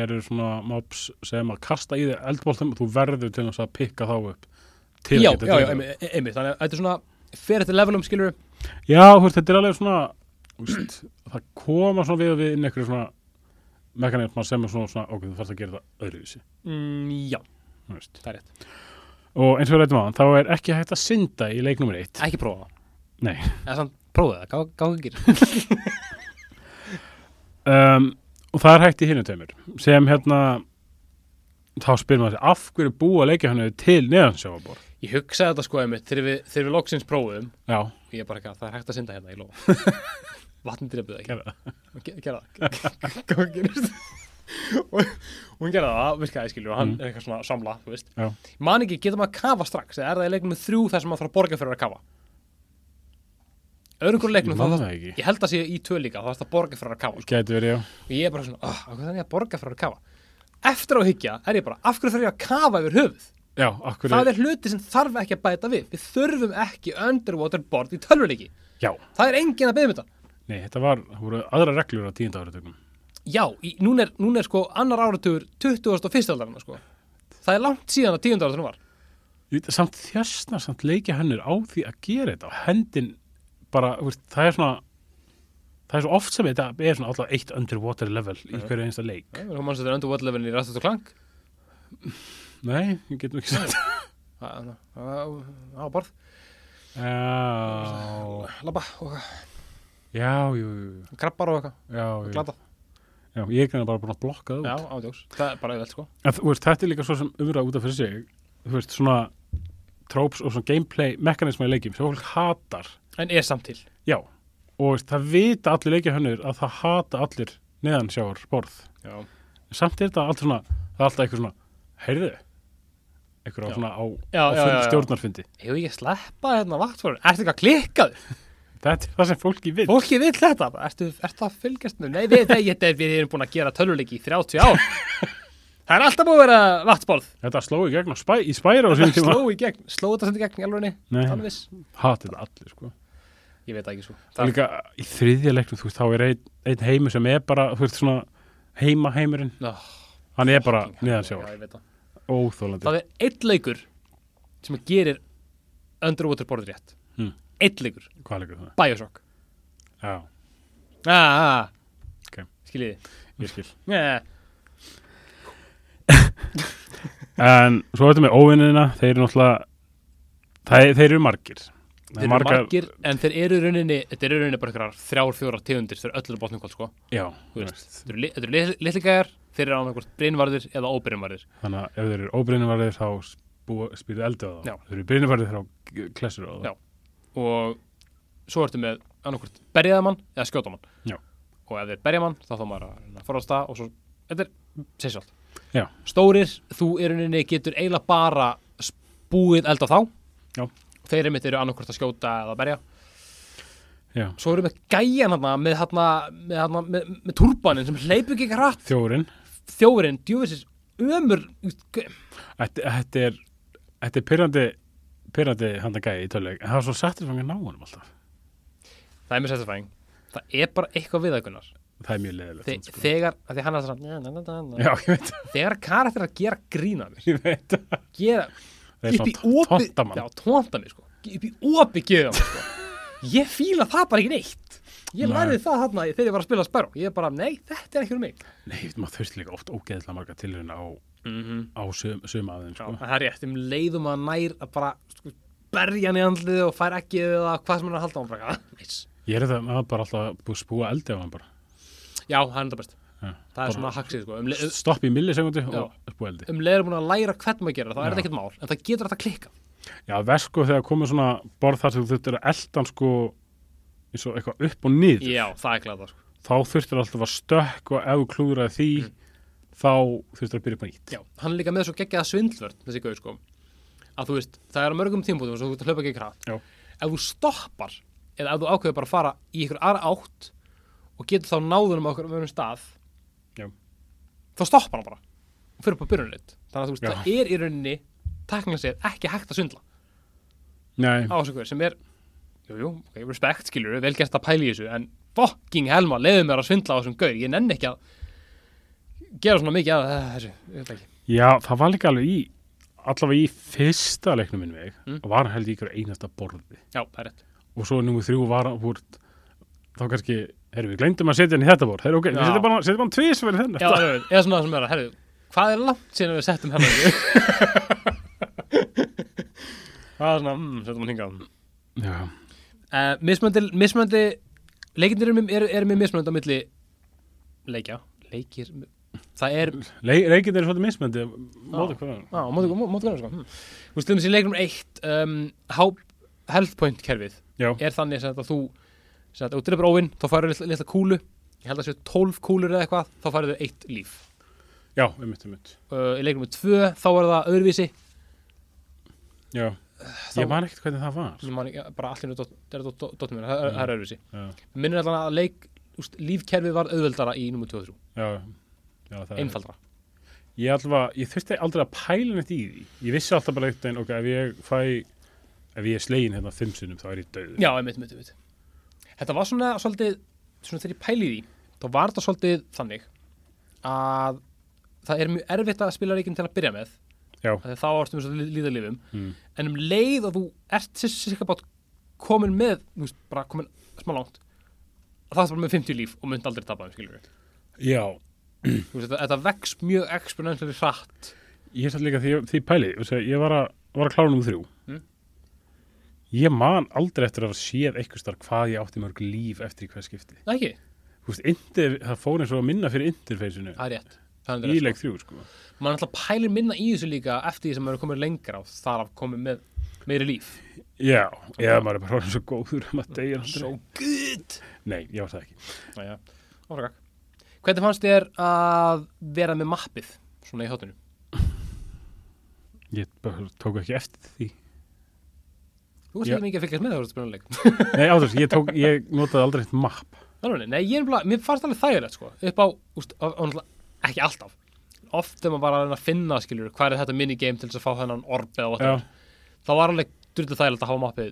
eru svona mobs sem að kasta í þig eldbóltum og þú verður til þess að pikka þá upp. til að já, já, geta já, dreifað. einmitt, einmitt, þannig að þetta er svona fer þetta levelum skilur Já, þú veist, þetta er alveg svona, úst, það koma svona við og við inn einhverju svona mekanisma sem er svona, svona ok, þú þarfst að gera þetta öðruvísi. mm, já, þú veist. það er rétt, Og eins og við rættum á hann, þá er ekki hægt að synda í leik nummer eitt. ekki prófa það Nei. eða samt prófa það, gá- gá ekki Um, og það er hægt í hinu tveimur, sem hérna, þá spyr maður sig, af hverju búa leikja hannu til neðansjáfaborð? ég hugsaði þetta sko einmitt þegar við, þegar við loksins prófuðum Já, ég bara ekki að það er hægt að synda hérna, ég lofa vatnum drefið ekki, gerða. Ge- gera það gá ekki og og hún gerði það, virkaði skilur og hann Mm. er eitthvað svona að samla, þú veist Já. man ekki, getur maður að kafa strax eða er það í leiknum þrjú þar sem maður þarf að borga fyrir að kafa öðrum hverju Ég leiknum þá man þarf- það ekki. ég held að sé í tvö líka þá þarf að borga fyrir að kafa sko. Gæti verið, já. og ég er bara svona, oh, hvað er ég að borga fyrir að kafa eftir á að hyggja er ég bara, af hverju þarf ég að kafa yfir höfuð Já, akkur það er hluti sem þarf ekki að bæta við við þurfum ekki underwater board í tölvuleiki Já, það er engin að beða um þetta nei, þetta var, það voru aðra reglur á tíunda áratögnum. já, í, núna, er, núna er sko annar áratugur 21. aldarinn sko. það er langt síðan að 10. aldarinn var Samt þjastna, samt leikja hennur á því að gera þetta og hendin bara, þú veist, það er svona, það er svo oft sem þetta er svona alltaf eitt underwater level í hverju einsta leik. hún mannst þetta er underwater levelin í rættast og klang Nei, við getum ekki sagt. Það- það- það- á borð, Já, labba og já, jú, jú, krabbar og eitthvað, já, jú. glata Já, ég er greinilega bara búin að blokka það já, út. ándjóks, það er bara auðvelt sko En, þú veist, þetta er líka svo sem umræða út af fyrir sig, þú veist, svona tróps og svona gameplay mekanisma í leikjum sem fólk hatar. en er samt til Já, og veist, það vita allir leikjahönnur að það hata allir neðansjáar borð. já. Samt er þetta allt svona, það er alltaf eitthvað svona, heyrðu, eitthvað Já. svona á, Já, á já, full já, já. stjórnarfundi. hefur ég sleppa hérna vaktfórun, ertu eitthvað klikkað Þetta er það sem fólki vil. fólki vill þetta, bara, ertu, ertu að fylgjast með nei, við, við, við, við erum búin að gera töluleiki í 30 ár það er alltaf búin að vera vaktborð Þetta sló í gegn á spæ, í spæra á sínum tíma. sló í gegn, sló þetta sem í gegn í alvegni Nei. þannig viss, Hati þetta allir, sko. ég veit það ekki svo Það er líka í þriðja leiknum, þú veist, þá er einn ein heimur sem er bara, þú veist, svona heima heimurinn. Ná, Hann er bara já, neðansjáar. ég veit það. Óþólandi. það er einn leikur sem gerir underwater borð rétt Hmm. einn leikur, Hvað leikur það? Bioshock Já, ah, Ok. skiljiði ég skil. yeah. En svo er þetta með óvinnina, þeir eru náttúrulega, þeir, þeir eru margir. Það þeir eru margir, en þeir eru í rauninni þetta eru í rauninni bara einhverjar þrjár, fjórar tegundir þeir eru öllu botningkóld sko já, þú þú veist. veist. þeir eru li- þetta eru lit- litligæjar, þeir eru án einhvert breinvarðir eða óbreinvarðir Þannig að ef þeir eru óbrinnivarðir þá spú- spýrðu eldi á þá. Já. Þeir eru brinnivarðir þá klessur á þá. Já. og svo ertu með annarkvort berjaðamann eða skjótamann Já. og ef þeir berjaðamann þá þá maður að reyna að forðast það og svo þetta er sérsjált Já. stórir, þú í rauninni getur eiginlega bara búið eld á þá Já. þeir einmitt eru annarkvort að skjóta eða berja Já. svo erum við gæjan hana með, hana, með, hana, með, með turbanin sem hleypur ekki hratt Þjórin, þjófurinn, djúfisins, ömur þetta þetta er, þetta er pyrrandi, pyrrandi handa gæði í töluleik. En það er svo sattir fangir ná honum alltaf. það er mjög sættafæðing það er bara eitthvað við það Gunnar Það er mjög leðilegt. Þe, þegar, af því hann er svona Já, ég veit, þegar karakter er að gera grína mér ég veit. gera Það er upp í svona opi tóntamann. já, tónta mér sko upp í opi geða mér sko ég fíla það bara ekki neitt ég Nei. lærði það þarna þegar ég var að spila spæró ég er bara, nei, þetta er ekki um mig Nei, maður þurfti líka oft ógeðislega marga tilurinn á, mm -hmm. á sum, sum af þeim, já, sko. en það er rétt, um leiðum að nær að bara sko, berja hann í andlið og fær ekki eða hvað sem hann er að halda hann bara, ah, nice. Ég er þetta maður bara alltaf búið að spúa eldi á hann bara. já, það er þetta best Já, það bara- er svona haxið sko um, le- Stopp í millisekundi og spúa eldi. um leiðum að læra hvernig maður gerir það, það er Já. þetta ekkert mál en það getur þetta að klikka Já, verð sko þegar komið svona borð þar sem þú þurftir að eldan sko eins og eitthvað upp og niður já, það er glæða sko. þá þurftir alltaf að stökk og ef þú klúðraði því þá þurftir að byrja upp á nýtt Mm. Já, hann er líka með svo geggjaða svindlvörn þessi gauð sko að þú veist, það er á mörgum tímpútum sem þú ert að hlaupa ekki hratt Já. ef þú stoppar eða ef þú ákveður bara að fara í ykkur aðra átt og getur þá náðunum á okkur um öðrum stað Já. þá stoppar hann bara og fyrir upp á byrjunleitt þannig að þú veist, Já. það er í rauninni tæknilega sér ekki hægt að svindla Nei, á þessu gauð sem er Jú, jú, ok, respect, skilur vel gert að pæla í þessu, en fucking helma, leiðu mér að svindla á þessum gaur, ég nenni ekki að gera svona mikið að eh, þessu, ég veit ekki. Já, það var líka alveg í allavega í fyrsta leiknum minn veg Mm. og var hann held í ykkur einasta borði Já, það er rétt. og svo nummer þrjú var hann úr þá kannski, herru, við glemdum að setja hann í þetta borð herru, ok, við Já. setjum bara, setjum bara tvís fyrir þennan Já, það er rétt. eða svona það sem er að, herðu, hvað er langt síðan við settum helma í Það er svona, mm, settum hann hingað. Já. Uh, mismöndi, mismöndi, leikindir eru, eru, eru með mismöndi á milli leikja, leikir, það er Le- Reykjavík er svolítið mismöndi móti hvað er Já, á móti, móti, móti hvernig sko hmm. Þú veist, til dæmis í leiknum eitt um, há- Health point kerfið Já, er þannig sem þetta þú sem þetta, ef þú drefur óvinn, þá færðu litla, litla kúlu ég held að séu 12 kúlur eða eitthvað þá færðu eitt líf já, einmitt, einmitt uh, í leiknum 2 þá er það öðruvísi Já, þá, ég man ekkert hvernig það var ég man ekki, bara allir er dottum mér, það er- það er öðruvísi Já, minnir allan að leik, úst, lífkerfið var auðveldara í nummer 2 og já, já það 3 einfaldra, er Ég allavega, ég þurfti aldrei að pæla neitt í því Ég vissi alltaf bara eitt en, ok, ef ég fæ ef ég er slegin hérna fimm sinnum þá er ég döður já, einmitt, einmitt, einmitt þetta var svona svolítið, svona þegar ég pæli í því þá var þetta svolítið þannig að það er mjög erfitt að spila reikin til að byrja með Já. Af því að þá ertum við svo líða lifum Mm. en um leið og þú ert sérskapátt komin með þú veist, bara komin smá langt þá ertu bara með 50 líf og mynd aldrei tapa þeim skilur við já Þú veist, þetta, þetta vex mjög exponentially hratt Ég satt líka því, því pæli, þú veist, ég var að, var að klára nummer þrjú. Mm. Ég man aldrei eftir að hafa séð eitthvað starf hvað ég átti mörg líf eftir í hver skipti. það ekki, Þú veist, inter, það fór eins og að minna fyrir interfeysinu það er rétt Það er í rétt, leik þrjú, sko. sko. mann alltaf pælir minna í þessu líka eftir því sem maður er komin lengra og þar af komin með meiri líf Já, eða maður er bara orðin svo góður um að deyja aldrei. so good Nei, ég var það ekki. Næja, áfragak Hvernig fannst þér að vera með mappið svona í hotinu? Ég bara tók ekki eftir því. Þú veist Já. ekki mikið að fylgjast með það voru spilanleik Nei, áður, ég, tók, ég notaði aldrei eitt mapp. Þannig, nei, ég er bara, mér fannst alveg þægilegt sko upp á, úst, á, á náttúrulega- ekki alltaf oft er maður bara að reyna að finna skiljur hvað er þetta minigame til þess að fá þennan orb eða Já, whatever, það var alveg drullið þægilegt að hafa mappið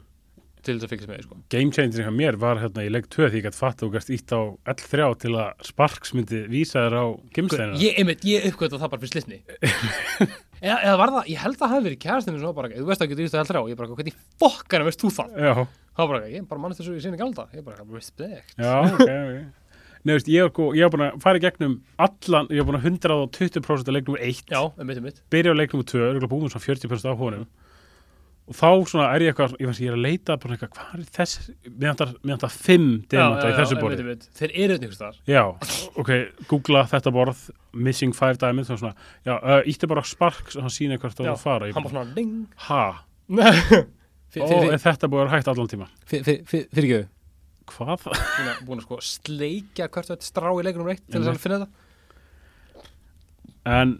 til þess að fylgjast með því, sko. game changer hjá mér var hérna í leik 2 því ég gætt fatt og gæst ítt á L3 til að Sparks myndi vísa þér á Guð, gimsteinina. ég, einmitt, ég uppgötta það bara fyrir slitni eða, eða var það, ég held að það hafi verið kærastinu sem var bara, þú veist að getur í þetta heldur á ég bara, hvernig fokkana veist þú það Já. það var bara, ég bara mannst þessu í sinni galda ég bara, respect Já, ok, ok. Nei, veist, ég, sko, ég hef búin að fara í gegnum allan, ég hef búin að 120% að leiknum 1, Já, einmitt, einmitt byrja á leiknum 2, örgulega búin með svona 40% á honum og þá svona er ég eitthvað, ég veist, ég er að leita bara eitthvað, hvað er þess, mér vantar- mér vantar 5 demanta í þessu borði. einmitt, einmitt. Þeir eru hérna einhvers þar Já, ok, googla þetta borð, missing 5 diamonds og svona, já, uh, ítti bara á sparks og hann sýnir hvert það var að fara. Ég Hann bara bara, svona ding ha, ó, er þetta búið að vera hægt allan tíma. Fyrir ekki Hvað? Búin að- búin að sko sleikja hvert þetta strá í leikunum reitt til þess að finna þetta En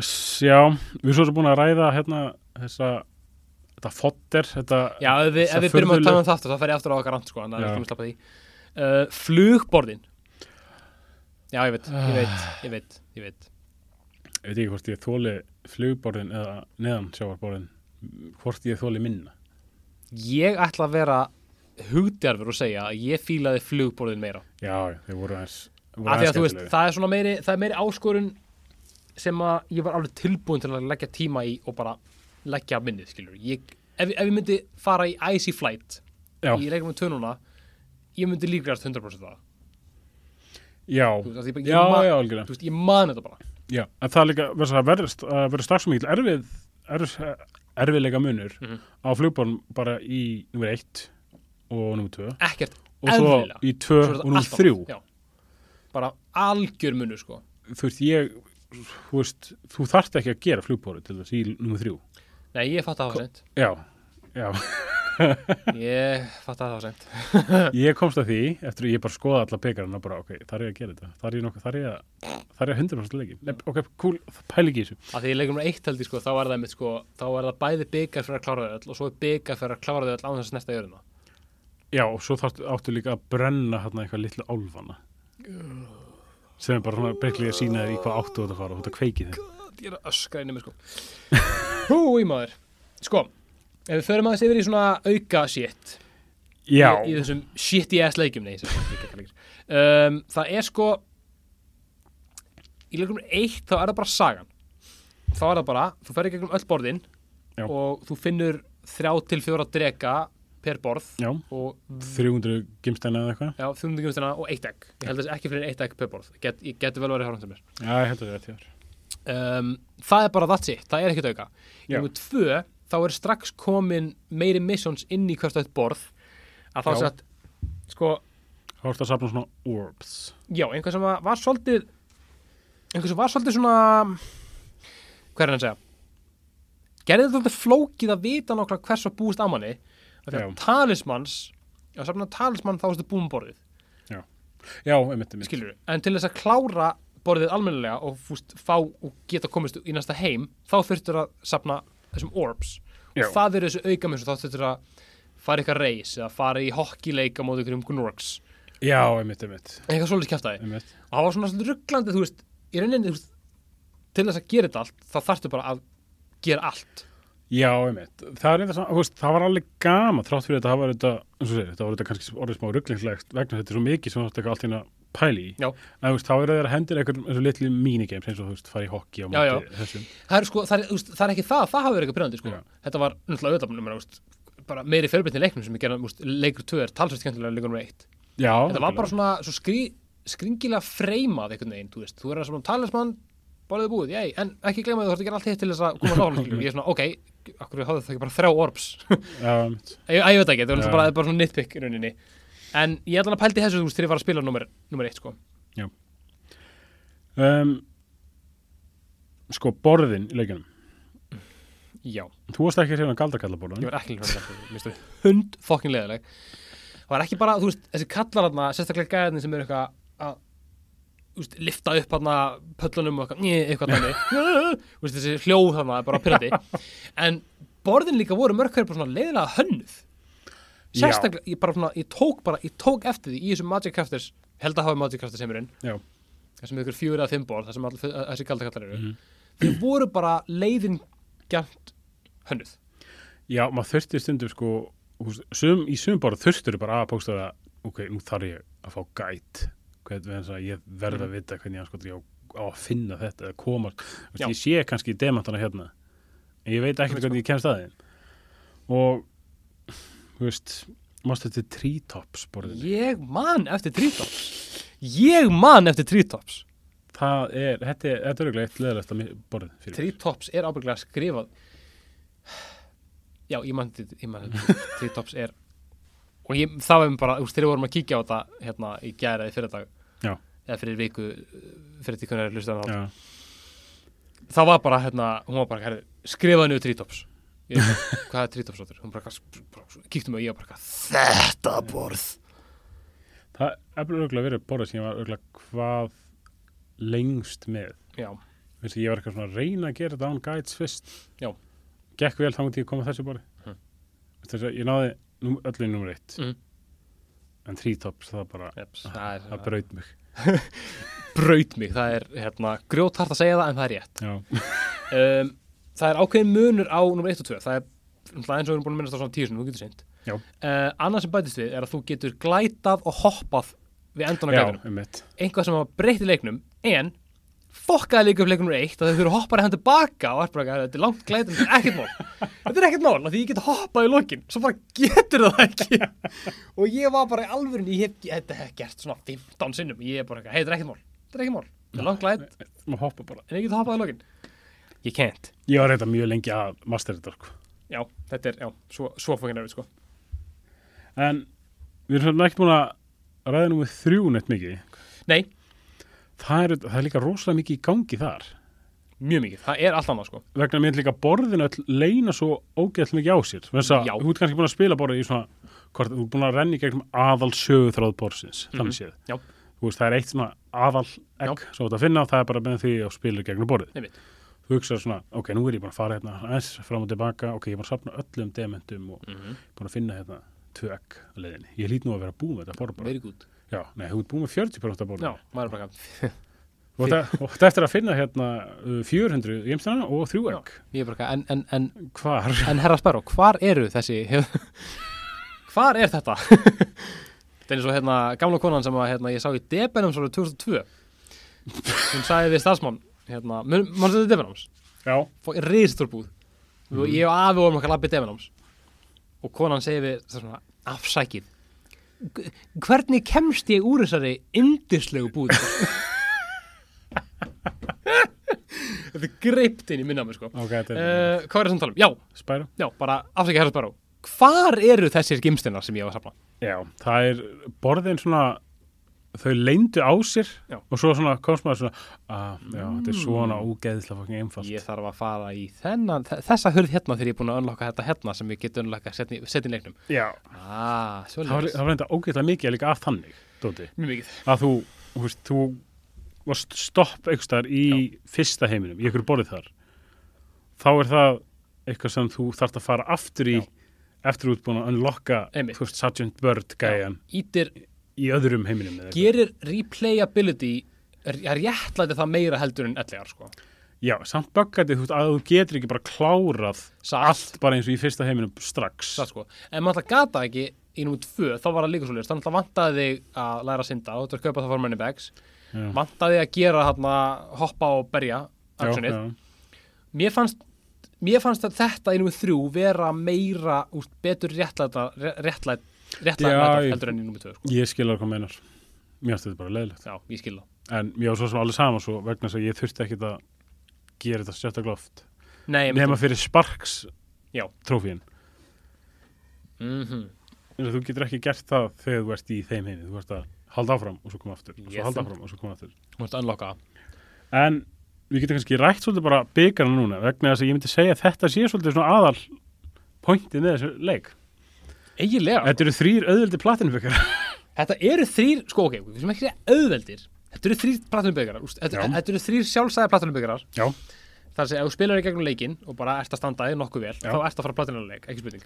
s- já, við erum svo sem búin að ræða hérna þessa þetta fodder, þetta Já, ef við, ef Svo við byrjum að tala furðulegt. um það aftur þá fer ég aftur á okkar rand sko Þannig að Já. við skulum slappa því uh, Flugborðin Já, ég veit, ég veit, Ah. ég veit, ég veit ég veit ekki hvort ég þóli flugborðin eða neðan sjávarborðin hvort ég þóli minna. Ég ætla að vera hugdjarfur og segja að ég fílaði flugborðin meira Já, já, þeir voru aðeins voru að því að þú veist, skemmtilegri. það er svona meiri það er meiri áskorun sem að ég var alveg tilbúin til að leggja tíma í og bara leggja minnið, skilur ég, ef, ef ég myndi fara í Icy Flight í já, leikum með tönuna ég myndi líklegast 100% það já, þú veist, af því bara, ég, man, já, já, algjörlega. Þú veist, ég man þetta bara Já, en það er líka verður það verðist að verður strax svo mikil erfið erf, erfiðleika munur Mhm. á flugborðin bara í nummer 1 og nummer 2 ekkert og svo eðlilega. í 2 Svo er og þetta nummer allt annað. 3 Já. bara algjör munur sko þú veist, ég þú veist, þú þarft ekki að gera flugbóru til þess í nummer þrjú. nei, ég fatt að það var sent Já, já, ég fatt að það var sent ég komst að því eftir að ég bara skoða alla pekarana bara, ok, þar er ég að gera þetta, þar er ég nokkuð, þar er ég að þar er ég að 100% leiki, Nei, ok, cool það pæli ekki í þessu, að því í leikum með eitt held ég sko þá er það einmitt sko þá er það bæði byggar fyrir að klára þau öll og svo er byggar fyrir að klára þau öll án þess að snerta jörðina já, og svo þarftu áttu líka að brenna hérna eitthvað litlu álfana sem er bara svona breytlega að sína þér í hvað áttu þú átt að fara og þú ert að kveiki þeim, ég er að öskra inn í mig sko Húi maður Sko, ef við förum aðeins yfir í svona auka shit já, í, í þessum shitty ass leikjum nei, sem, ekki, ekki, ekki, um, það er sko í leikum eitt þá er það bara sagan þá er það bara, þú ferði gegnum öll borðin Já. og þú finnur þrjá til fjóra drega per borð já, og 300 gimstæna eða eitthvað já, 500 gumstina og eitt egg ég held að þessi ekki fyrir en eitt egg per borð Ég get, ég geti vel verið hárhundum mér Já, ég held að það er rétt hjá þér. um, það er bara that's it, það er ekkert auka í Já. nummer tvö, þá er strax komin meiri missions inn í hvert og eitt borð að þá Já. er satt sko, Þá ertu að safna svona orbs já, einhver sem var, var svolítið einhver sem var svolítið svona hvað er hann að segja gerði þetta svolítið flókið að vita nokkla hvers að búist að manni af því Já. að talismans ef að safna talisman þá erstu búin borðið Já, einmitt, einmitt skilur en til þess að klára borðið almennilega og fúst, fá og geta komist í næsta heim þá þurftur að safna þessum orbs Já. og það eru þessu auka þá þurftur að fara eitthvað reis eða fara í hokkileika móti ykkur um Gnorks Já, einmitt, einmitt, eitthvað svolítið kjæftæði einmitt. og það var svona svolítið rugglandi þú veist, í rauninni þú veist, til þess að gera þetta allt þá þarftu bara að gera allt Já, einmitt Það, er einmitt svona, þú veist, það var alveg gama þrátt fyrir þetta, það var þetta, eins og segir, þetta var þetta kannski orðið smá rugglingslegt vegna þetta er svo mikið sem þú þetta allt hérna pæli í Já. En þú veist, þá eru þeir að hendur einhver eins og litli minigames eins og þú veist, fara í hokki á Já, já. móti þessum það er, sko, það er, þú veist, það er ekki það, það hafi verið eitthvað brennandi sko. Já. þetta var náttúrulega auðvitað númer, þú veist, bara meiri fjölbreytni í leiknum sem ég gerði þú veist, leikur 2 er talsvægt skemmtilega en leikur nummer 1 Já, þetta var bara svona svo skrí, skringilega freymað einhvern veginn, þú veist, þú er að svona talismann borðið búið, jæj, en ekki gleyma því þú þarfst að gera allt hitt til þess að koma nála skilur. ég er svona, ok, akkur hafði það ekki bara þrjá orbs ég, Já, einmitt ég veit ekki, það var Já. náttúrulega bara, bara svona nitpick í rauninni, en ég ætla að pældi þessu þú veist, þegar ég var að spila nummer, nummer eitt, sko um, Sko, borðin í leikunum já, Þú varst ekki hérna galdakallaborðan ég var ekki líka hund hund fokkin leðileg það var ekki bara, þú veist, þessi kallar hana, sérstaklega gæðin sem eru eitthvað að þú veist, lifta upp hana pöllunum og eitthvað, né, eitthvað þannig Þú veist, þessi hljóð hana, bara pyrrandi en borðin líka voru mörg hverju bara svona leiðilega hönnuð sérstaklega, ég bara svona, ég tók bara ég tók eftir því í þessum Magic Crafters held að hafa Magic Crafters heimurinn Já, þessum ykkur fjögur eða fimm borð, þessum all, þessi kaldakallar eru Mhm. mm voru bara leiðin gæmt hönnuð já maður þurftir stundum sko þú veist, sum, í sum bara þurftir bara að póksta það ok, nú þarf ég að fá gæt hvernig þess að ég verð Mm. að vita hvernig ég anskotri á, á að finna þetta eða koma, Þú Já. sko. veist, ég sé kannski demantana hérna, en ég veit Þú ekkert veist hvernig ég kemst að þeim og þú veist, mást þetta treetops borðinu, Ég man eftir Treetops Ég man eftir Treetops það er þetta er, þetta er örugglega eitt leðalegt að borðin fyrir mér. Treetops er ábygglega skrifað Já, ég man eftir, ég man eftir Treetops er og ég, það var mér bara, úst, þegar við vorum að kíkja á þetta hérna í gæra eða fyrir dag Já. eða fyrir viku, uh, fyrir því hvernig er hlustað Já. það var bara, hérna, hún var bara herri, skrifaði niður Treetops Ég bara, hvað er Treetops áttur? Hún bara, hvað- bara kíktum og ég bara, þetta borð það er örugglega verið borðið sem ég var örugglega hvað lengst með Já, Vist, ég var eitthvað svona að reyna að gera þetta án guides fyrst Já. gekk vel þannig til ég kom að þessu borði Mhm. þess að ég náði num, öllu í nummer eitt Mhm. en þrítops það bara Eps, það er Ah, það braut mig braut mig, það er hérna, grjóthart að segja það en það er rétt já, um, það er ákveðin munur á nummer 1 og 2 það er náttúrulega eins og við erum búin að minnast á svona tíu sem þú getur seint Já. uh, annað sem bætist við er að þú getur glætað og hoppað við endan á já glætunum um einhvað sem hafa breytt í leiknum en fokkaði líka upp leiknum 1 að þau þurfa að hoppa hann tilbaka og er bara að þetta er langt glætum þetta er ekkert mál þetta er ekkert mál af því ég get hoppað í lokin svo bara getur það ekki og ég var bara í alvörun ég hef, ég, þetta hef gert svona 15 sinnum ég er bara eitthvað, hey, þetta er ekkert mál þetta er ekkert mál þetta er langt glæt maður hoppa bara en ég get hoppað í lokin ég can't ég var reynda mjög lengi að master þetta sko. Já, þetta er, já, svo, svo fókin erfið sko en við erum svona ekkert múin að ræða nummer þrjú neitt mikið Nei, það er, það er líka rosalega mikið í gangi þar mjög mikið, það er allt annað sko vegna mér líka borðin öll leina svo ógeðall mikið á sér þess að Já. þú ert kannski búin að spila borðið í svona hvort, þú ert búin að renni gegnum aðal sögutráð borðsins, þannig séð Mhm. Já. þú veist, það er eitt svona aðal egg sem þú ert að finna og það er bara með því að spila gegnum borðið Nei mitt, þú hugsaður svona, ok, nú er ég búin að fara hérna aðeins fram og tilbaka, ok, ég er búin að safna öllum dementum og Mhm, búin að finna hérna tvö egg að leiðinni, ég lít nú að vera búin með þetta borð bara, very good já, nei, þú ert búin með 40% að borðið Já, maður er bara eitthvað, og þetta- og þetta eftir að finna hérna uh, 400 gemstana og þrjú egg ég er bara eitthvað, en, en, en, hvar? en herra Sparrow, hvar eru þessi, hef- hvar er þetta? þetta er eins og hérna gamla konan sem að hérna, ég sá í Debenhams árið 2002 hún sagði við starfsmann hérna, mun- mannstu þetta Debenhams? Já, Ríðsturbúð mm. og ég og afi vorum okkar lappið Debenhams og konan segir við svona, afsækið "G- hvernig kemst ég úr þessari yndislegu búð þetta greipt inn í minna mér sko ok, þetta er Uh, hvað er það að tala um? Já, spæra. Já, bara afsækja herra Sparrow Hvar eru þessir gimstinnar sem ég var að safna? Já, það er borðin svona, þau leyndu á sér Já. og svo svona komst maður svona, að, já, þetta er svona ógeðislega fucking einfalt. Ég þarf að fara í þennan, þe- þessa hurð hérna þegar ég er búin að unlocka þetta hérna sem ég get unlocka setni í leiknum Já. Ah, svo Það var, það var enda ógeðislega mikið líka af þannig, Dóti, Mjög mikið að þú, þú veist, þú varst stopp einhverstaðar í fyrsta heiminum, í einhverju borðið þar. Þá er það eitthvað sem þú þarft að fara aftur í, Já. eftir út búin að unlocka, Einmitt. þú veist, Sergeant Bird gæjan Ítir, í öðrum heiminum. eða eitthvað. gerir replayability r- réttlæti það meira heldur en ellegar sko Já, samt bakkandi, þú veist, að þú getur ekki bara klárað Satt, bara eins og í fyrsta heiminum strax satt sko En maður alltaf gata ekki í númer tvö þá var það líka svo lýst, þannig að vantaði þig að læra að synda, þú ættir að kaupa það formanni bags Já. vantaði að gera þarna hoppa og berja Mm. Já, actionið já. mér fannst mér fannst að þetta í nummið þrjú vera meira úst, betur réttlæta réttlæt, réttlæta Já, ég- heldur enn í nummið tvö sko. Ég skilur hvað meinar Mér finnst þetta bara leiðilegt já, ég skil það En mér var svo sem alveg sama svo vegna þess að ég þurfti ekkit að gera þetta sérstaklega oft Nei, ég Nefna fyrir Sparks Já. trófíin mm -hmm. Þú getur ekki gert það þegar þú ert í þeim heimi Þú ert að halda áfram og svo koma aftur og Yes. svo halda áfram og svo koma aftur Þú ert að unlocka það. En við getum kannski rætt svolítið bara byggarna núna vegna þess að ég myndi segja að þetta sé svolítið svona aðal pointið með þessu leik eiginlega, þetta, Þetta eru þrýr auðveldi platinbyggar eru þrýr sko ok, við sem ekki segja auðveldir þetta eru þrýr platunubyggarar þetta, Já. þetta eru þrýr sjálfsæði platunubyggarar Já, þar að segja, ef þú spilar í gegnum leikinn og bara ert að standa þig nokkuð vel, Já. þá ert að fara platinuleik ekki spurning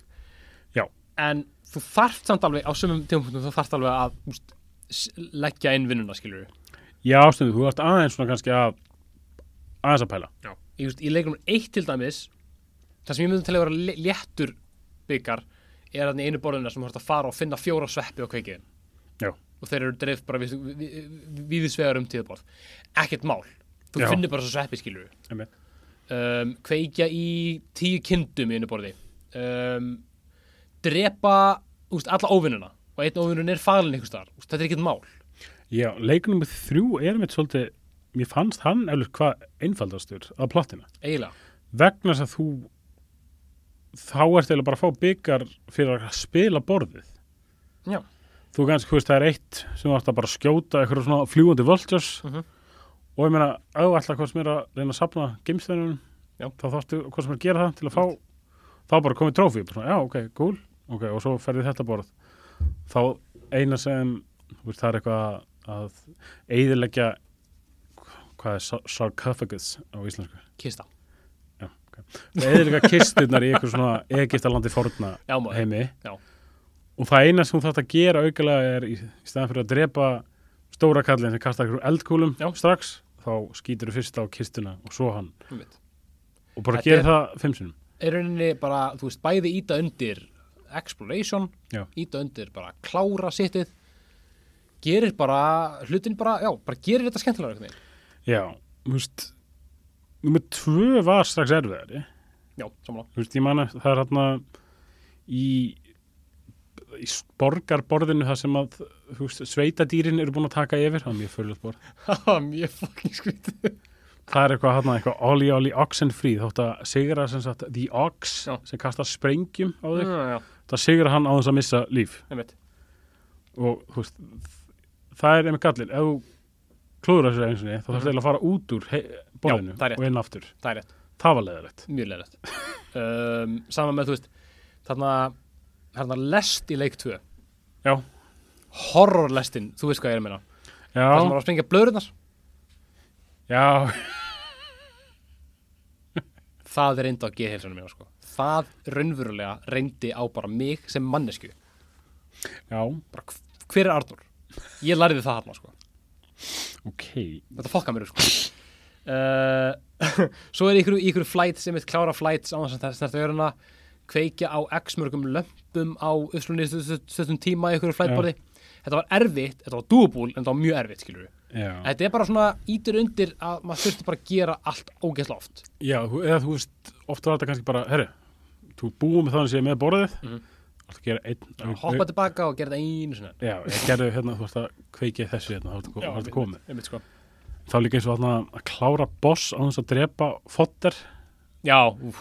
já, en þú þarft samt alveg á sumum tímapunktum þú þarft alveg að úst, leggja inn vinnuna skilur já stundu, þú ert aðeins svona kannski að aðeins að pæla Já. Ég, veist, í leikum eitt til dæmis það sem ég myndi til að vera lé- léttur byggar er þannig einu borðina sem þú þarf að fara og finna fjóra sveppi á kveikiðin Já. og þeir eru dreif bara við- við- við- víðisvegar um tíðaborð ekkert mál, þú Já. finnir bara svo sveppi skilur Einmitt. um, kveikja í tíu kindum í einu borði um, drepa úst, alla óvinnuna og einn óvinnun er falin einhvers staðar, Úst, þetta er ekkert mál Já, leiknum með þrjú er mitt svolítið, mér fannst hann eflust hvað einfaldastur að plottina. eiginlega, Vegna þess að þú, þá ert eða bara að fá byggar fyrir að spila borðið. já, Þú kannski, þú veist, það er eitt sem þú ætti að bara skjóta eitthvað svona fljúandi vultures Mhm. og ég meina, ef þú ætla hvað sem er að reyna að sapna geimstæðunum, Já. þá þáttu hvað sem er að gera það til að fá, þá bara komið trófi, bara svona, já, ok, cool, ok, og svo ferði þetta borð. Þá eina sem, þú veist, það er eitthvað að- að eiðileggja, hvað er sar- sarcophagus á íslensku? kista Já, ok. Eðilega kisturnar í eitthvað svona Egiptalandi forna já, maður, heimi já, og og það eina sem þú þarft að gera aukalega er í í staðan fyrir að drepa stóra kallin sem kastar ykkur eldkúlum Já. strax, þá skýtur þú fyrst á kistuna og svo hann mitt og bara Þetta gera er- það fimm sinum er rauninni bara, þú veist, bæði íta undir exploration, Já. íta undir bara klára sittið gerir bara, hlutin bara já, bara gerir þetta skemmtilega einhvern veginn Já, þú veist nummer tvö var strax erfiðari já, samanlá, þú veist, ég man að það er hérna í, í borgarborðinu það sem að þú veist, sveitadýrin eru búin að taka yfir það er mjög följöld borð haha, mjög fucking skrítið það er eitthvað hérna, eitthvað Oli Oli Oxenfree þótt að sigra sem sagt The Ox Já. sem kastar sprengjum á þig já, já, það sigra hann á þess að missa líf einmitt og þú veist það er einmitt gallin, ef þú klúður þessu einu sinni, þá þarfst eiginlega að fara út úr hei- Mhm. borðinu Já, það er rétt. og inn aftur það er rétt, það var leðilegt mjög leðrætt um, saman með, þú veist, þarna þarna lest í leik 2 já, horrorlestin, þú veist hvað ég er að meina það sem já, var að springa blöðurnar, já, það er reyndi á geðheilsunum mér, sko, það raunverulega reyndi á bara mig sem mannesku já bara, hv- hver er Arnur? Ég lærði það hann, sko. ok, Þetta fokka mér, upp, sko. Eh, Uh, svo er ykkur, ykkur flight sem er klára flight á þess að þetta er jörna kveikja á x mörgum lömpum á uppslunni tíma í ykkur flætborði þetta var erfitt, þetta var dúbúl en þetta var mjög erfitt skilur við já. þetta er bara svona ítur undir að maður þurfti bara að gera allt ógeðsla oft já, þú- eða þú veist, ofta var þetta kannski bara, herru, þú búum með þannig sem með borðið, mm Mhm. að gera einn, hoppa tilbaka og gera þetta einu sinni já, ég gerði hérna, þú veist að kveikið þessu hérna, þá ertu- þá ertu komið. einmitt, sko. Þá líka eins og þarna að klára boss á þess að drepa fodder. já, úf,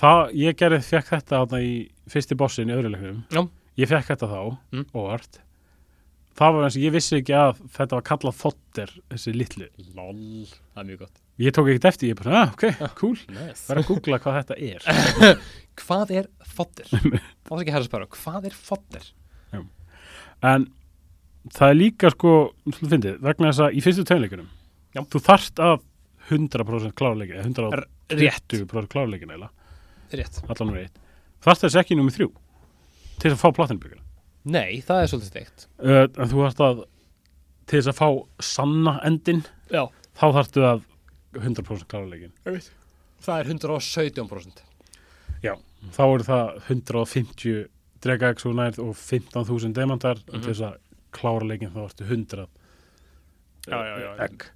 Það, ég gerði, fekk þetta þarna í fyrsti bossin í öðru leiknum. já, Ég fekk þetta þá, Mm. óvart. Það var eins og ég vissi ekki að þetta var kallað fodder, þessi litlu. lol það er mjög gott Ég tók ekkert eftir, ég bara, ah, ok, cool. nice. Verða að googla hvað þetta er. hvað er fodder? það er ekki að herra spara, hvað er fodder? En það er líka, sko, svolítið fyndið, vegna þess að í fyrstu tveimleikunum, Já. þú þarft að 100% klárleikin, 120% rétt, klárleikin eiginlega. rétt allan verið eitt þarft þess ekki nummið þrjú til þess að fá platinbyggina nei, það er svolítið steikt uh, en þú þarft að til þess að fá sanna endin já, þá þarftu að 100% klára leikin einmitt það er 117% þá eru það 150 drega ekki svo nærð og 15.000 demantar en Mhm. til þess að klára leikin þá ertu 100 Já, já, já, já. egg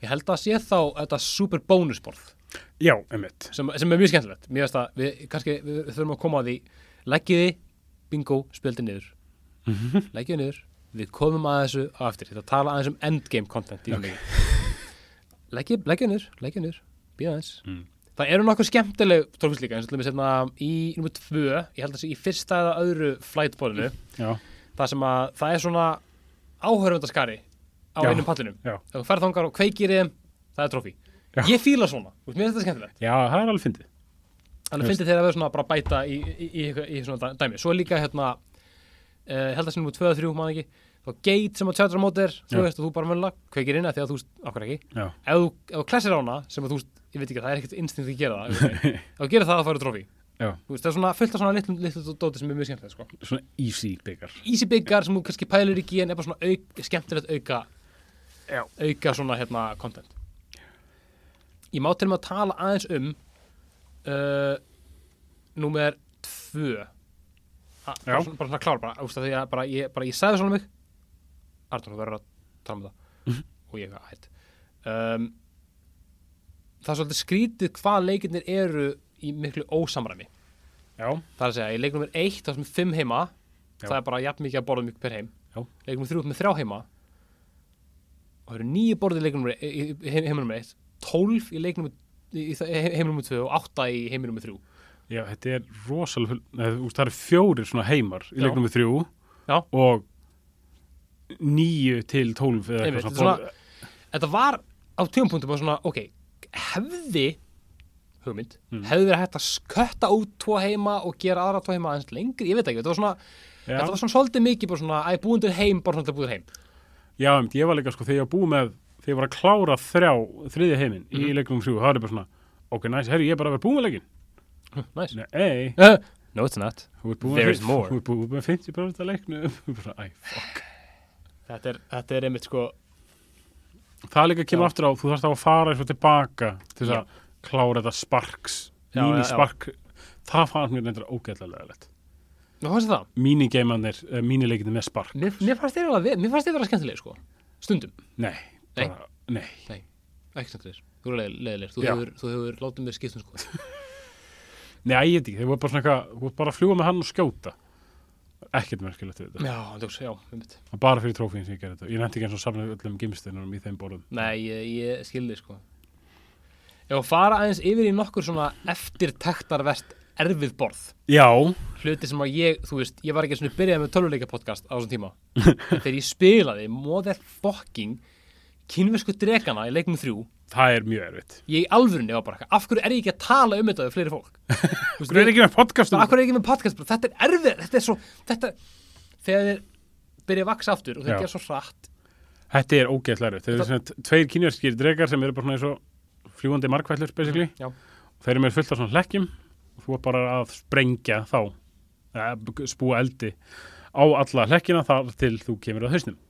ég held að sé þá þetta super bónusborð já, emitt sem, sem er mjög skemmtilegt mér finnst að við kannski við, við þurfum að koma að því leggiði, bingo, spildi niður Mhm. leggiði niður við komum að þessu á eftir þetta tala aðeins um endgame content í okay. leggiði, leggiði niður, leggiði niður býða aðeins Mm. það eru nokkuð skemmtileg tólkus líka eins og til dæmis hérna í nummer tvö ég held að sé í fyrsta eða öðru flightbólinu já, það sem að það er svona áhörfundaskari á Já. einum pallinum já. ef þú ferð þangar og kveikir í þeim það er trófi Já. ég fíla svona, þú veist, mér finnst þetta skemmtilegt já, það er alveg fyndið þannig Ég finnst þeir að vera svona bara að bæta í, í, í, í, í svona dæ- dæmi svo er líka hérna uh, held að sem nú 2 og 3 maður ekki þá gate sem að tjátra mót er Já. þú veist og þú bara mönla kveikir inn að því að þú veist, okkur ekki já, ef þú, ef þú klessir á hana sem að þú veist, ég veit ekki, það er ekkert instinkt að gera það ef þú gerir það þá færðu trófi já, þú veist, það er svona fullt af svona litlu, litlu dóti sem er mjög skemmtilegt sko. svona easy byggar easy byggar sem þú kannski pælir ekki en er bara svona auk, skemmtilegt auka Já. auka svona hérna content ég má til með að tala aðeins um uh, númer tvö A, bara, Já. svona, bara svona klár bara, úst, því að bara ég, bara ég sagði svona um mig Arnur, þú verður að tala um það og ég eitthvað hætt um, það er svolítið skrítið hvað leikirnir eru í miklu ósamræmi já, Það er að segja, í leiknum er eitt, það sem er fimm heima Já. það er bara jafn mikið að borða mikið per heim Já. leiknum er þrjú með þrjá heima og það eru nýju borðið í leiknum í í- í heiminum er eitt tólf í leiknum í í- í heiminum er tvö og átta í heiminum er þrjú já, þetta er rosalega neð, úst, það eru fjórir svona heimar í Já. leiknum við þrjú Já. og níu til tólf eða Einmitt, eitthvað þetta er Þetta var á tíumpunktum og svona, ok hefði hugmynd, Mm. hefði verið hægt að kötta út tvo heima og gera aðra tvo heima aðeins lengri, ég veit ekki, þetta var svona Já, þetta var svona svolítið mikið bara svona, æ, búindir heim bara svona til búindir heim, já einmitt, ég var líka sko þegar ég var búið með þegar ég var að klára þrjá, þriðja heiminn Mhm. í leiknum þrjú, það er bara svona ok, næs, herri, ég er bara að vera búið með leikin nice Nei, ei, Eh, No it's not þú ert búið There með is more. þú ert búið með 50% af leiknum Þú bara, æ, fuck. Þetta er, þetta er einmitt sko það líka kemur Já. aftur á, þú þarfst á að fara svo tilbaka til þess að klára þetta sparks Já, já, já. mínispark, það fannst mér neitt ógæðlega leitt Nú fannst þér það? mínigeimanir, uh, mínileikinir með spark Mér, mér fannst þeir alveg, mér fannst þeir vera skemmtilegir sko Stundum, nei, Nei. bara, nei. ekki skemmtilegir Þú eru leiðilegir, þú Já. hefur, þú hefur látið mér skiptum sko nei, ég veit ekki, þeir voru bara svona eitthvað þú voru bara að fljúa með hann og skjóta ekkert merkilegt við þetta Já, djóks, já, einmitt Það var bara fyrir trófíin sem ég gerði þetta. Ég nætti ekki eins og samla öllum gimsteinunum í þeim borðum. Nei, ég, ég skilði sko Ef að fara aðeins yfir í nokkur svona eftirtektarvert erfið borð Já. Hluti sem að ég, þú veist, ég var ekki svona byrjað með töluleika podcast á þessum tíma En Þegar ég spilaði motherfucking kynversku dregana í leiknum þrjú Það er mjög erfitt. Ég í alvörunni var bara, eitthvað, af hverju er ég ekki að tala um þetta við fleiri fólk? Þú veist, Þú er ekki með um Svo podcastum. akkur er ekki með podcast bara, Þetta er erfið, þetta er svo þetta, Þegar þeir byrja að vaksa aftur og þeir Já. gera svo hratt Þetta er ógeðslega erfitt. Þeir eru svona tveir kynjarskýri dregar sem eru bara svona eins og fljúandi markvællur, basically. Já. Þeir eru með fullt af svona hlekkjum og þú er bara að sprengja þá, eða b- spúa eldi á alla hlekkjina þar til þú kemur að hausnum.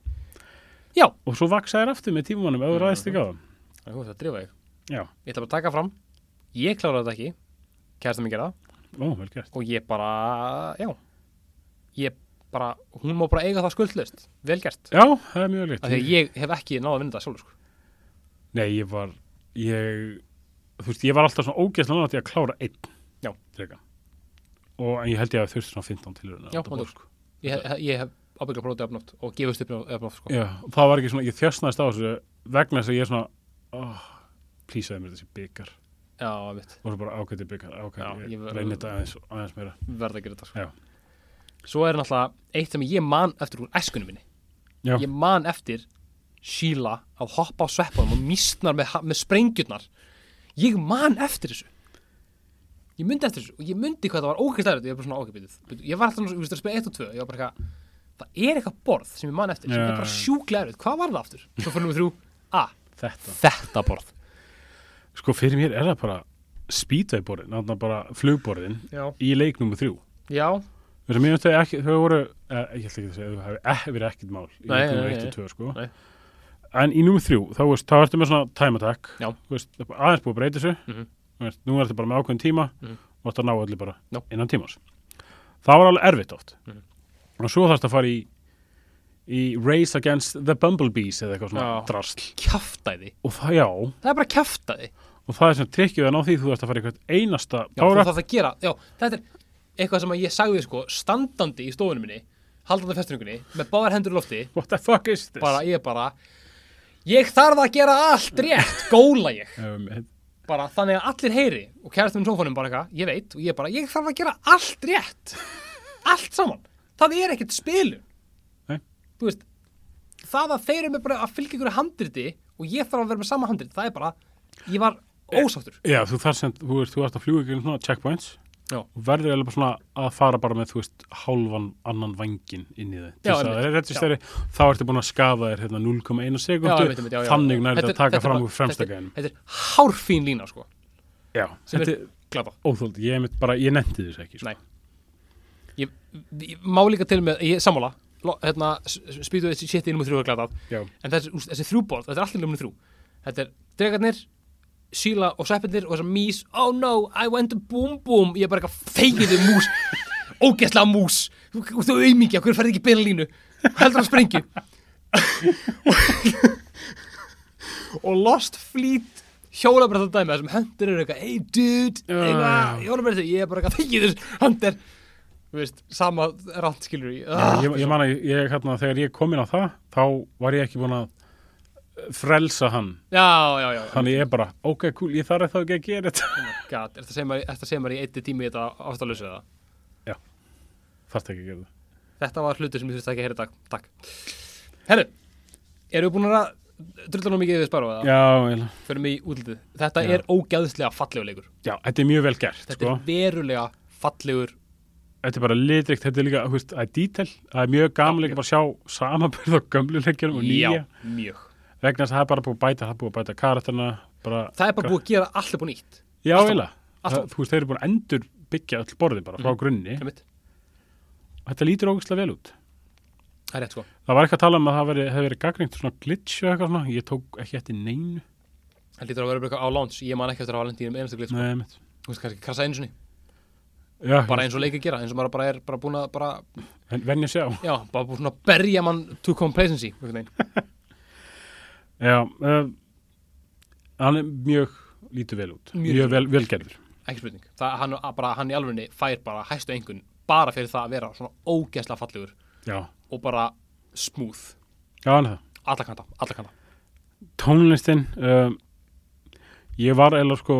Já. Og svo vaksa þær aftur með tímumannum ef þú ræðist ekki á það. Það er að drífa þig Já. Ég ætla bara að taka fram, ég kláraði þetta ekki Kæðast að mér gera Ó, vel gert. og ég bara, já ég bara, hún má bara eiga það skuldlust vel gert, Já, það er mjög af því að leitt. ég hef ekki náða að vinna það sjálfur sko. Nei, ég var, ég, þú veist, ég var alltaf svona ógeðslega nátt í að klára einn. Já. Freka. Og en ég held ég að sko. þurfti svona 15 til Já, vondur. ég, hef- ég hef ábyggla brótið öfnátt og gefist upp öfnátt sko. Já, það var ekki svona, ég þjösnaðist á þessu vegna þess að ég er svona, oh, plísaði mér þessi byggar. já, mitt, Og svo bara ákveði byggar, Já, ákveði, ég ég var- reyni þetta aðeins, aðeins meira. verða að gera þetta Já. sko. svo er náttúrulega eitt sem ég man eftir úr eskunum minni Já, ég man eftir Sheila að hoppa á sveppunum og mísnar með, ha- með sprengjurnar ég man eftir þessu ég myndi eftir þessu og ég myndi hvað það var ógæstlega ég var bara svona ágæpitið ég var alltaf svona, þú veist, að spila 1 og 2 ég var bara eitthvað, það er eitthvað borð sem ég man eftir sem Já, er bara já. sjúklega erfið, hvað var það aftur? svo fyrir við þrjú, a, þetta. þetta borð Sko, fyrir mér er það bara speedway-borðin, náttúrulega bara flugborðin já, í leiknum þrjú. já, Þess að mér finnst þau ekki, þau voru, eh, ég ætla ekki að segja, þau hafi ekki verið ekkert mál í Nei, númer nei, 1 nei. og 2, sko. Nei. En í númer 3, þá veist, þá ertu með svona time attack, Já. Þú veist, það er bara aðeins búið að breyta þessu, Mhm. Þú veist, nú er þetta bara með ákveðin tíma Mhm. og þetta ná allir bara Já. innan tímans. Það var alveg erfitt oft. Mhm. Og svo þarfst að fara í, í Race Against the Bumblebees eða eitthvað svona Já. drasl. kjaftaði Og það, já, það er bara kjaftaði já, og það er sem trikkið að ná því þú þarfst að fara í hvert einasta þú power-up. þarf að gera, já, þetta er eitthvað sem að ég sagði sko, standandi í stofunum minni haldandi á festningunni, með báðar hendur í lofti What the fuck is this? bara, ég bara ég þarf að gera allt rétt, góla ég Um, bara þannig að allir heyri og kærastum minn sófanum bara eitthvað, ég veit og ég bara, ég þarf að gera allt rétt allt saman, það er ekkert spilun Nei. þú veist það að þeir eru með bara að fylgja ykkur handriti og ég þarf að vera með sama handriti, það er bara ég var Eh. ósáttur Já, þú þarf sem, þú veist, þú ert að fljúga ekki svona checkpoints Já. og verður alveg bara svona að fara bara með, þú veist, hálfan annan vangin inn í þau. Já, einmitt. Já. einmitt. Þá ertu búin að skafa þér hérna 0,1 sekundu, einmitt, einmitt, já, já, já. þannig nærðu Þetta að er- taka þetta er fram bara- úr þetta fremsta er- gænum. þetta er hárfín lína sko, Já, sem þetta er er glata óþóld, ég einmitt bara, ég nefndi þessu ekki. Sko. Nei. ég, ég má líka til með, ég er sammála lo- hérna, spýtu þessi shit í nummer þrjú er glatað, Já, en þessi, úst, þessi þrjúborð þetta er allir nummer þrjú, þetta er dregarnir síla og sveppinir og þessar mís oh no, I went to boom boom ég er bara eitthvað fegiðu mús ógeðslega mús, þú, þú auðmingja hverju ferði ekki í beina línu, heldur að sprengju og lost fleet hjólabrið þetta dæmi, þessum höndir eru eitthvað hey dude, Já, eitthvað, já. hjólabrið þetta ég er bara eitthvað fegiðu höndir þú veist, sama rand skilur Ah. ég Já, ég, ég man að ég, hérna, þegar ég kom inn á það, þá var ég ekki búin að eh, frelsa hann. já, já, já, já. Þannig ég bara, ok, cool, ég þarf þá ekki að gera þetta. God, er þetta sem er í eitthi tími í þetta ástalösu eða? Þarft ekki að gera það. Þetta var hlutur sem ég þurfti ekki að heyra í dag. Takk. Herru, erum við búin að drulla nú mikið við spara eða? Já, eiginlega. Förum í útlitið. Þetta Já. er ógæðslega fallegur leikur. já, þetta er mjög vel gert, Þetta sko. er verulega fallegur. þetta er bara litrikt, þetta er líka, þú veist, það er detail, það er mjög gaman Já, líka bara að sjá samanbyrð á gömlu leikjunum og nýja, Já, mjög. vegna þess að það er bara búið að bæta, það er búið að bæta karakterna, bara, Það er bara búið að gera allt upp og nýtt. já, alltaf- eiginlega, Það- alltaf. Mhm. þú veist, þeir eru búin að endur byggja öll borðin bara frá grunni, Einmitt. og þetta lítur ógæslega vel út. Það er rétt sko. Það var eitthvað að tala um að það veri, hefði verið gagnrýnt svona glitch og eitthvað svona, ég tók ekki eftir neinu, Það lítur að vera bara eitthvað á launch. Ég man ekki eftir að hafa lendið í um einasta glitch. nei, mitt. Þú veist kannski krasa eins og Já, Bara eins og leikir gera. Eins og maður bara er bara búin að bara, en venja sjá. já, bara búin að berja mann to complacency. einhvern veginn. Já, uh, hann er mjög, lítur vel út, Mjög mjög, vel, velgerður. ekki spurning það, hann, að bara, hann í alvegni fær bara hæstu engun bara fyrir það að vera svona ógeðslega fallegur Já, og bara smooth já, hann er það. alla kanta, alla kanta tónlistin um, ég var eða sko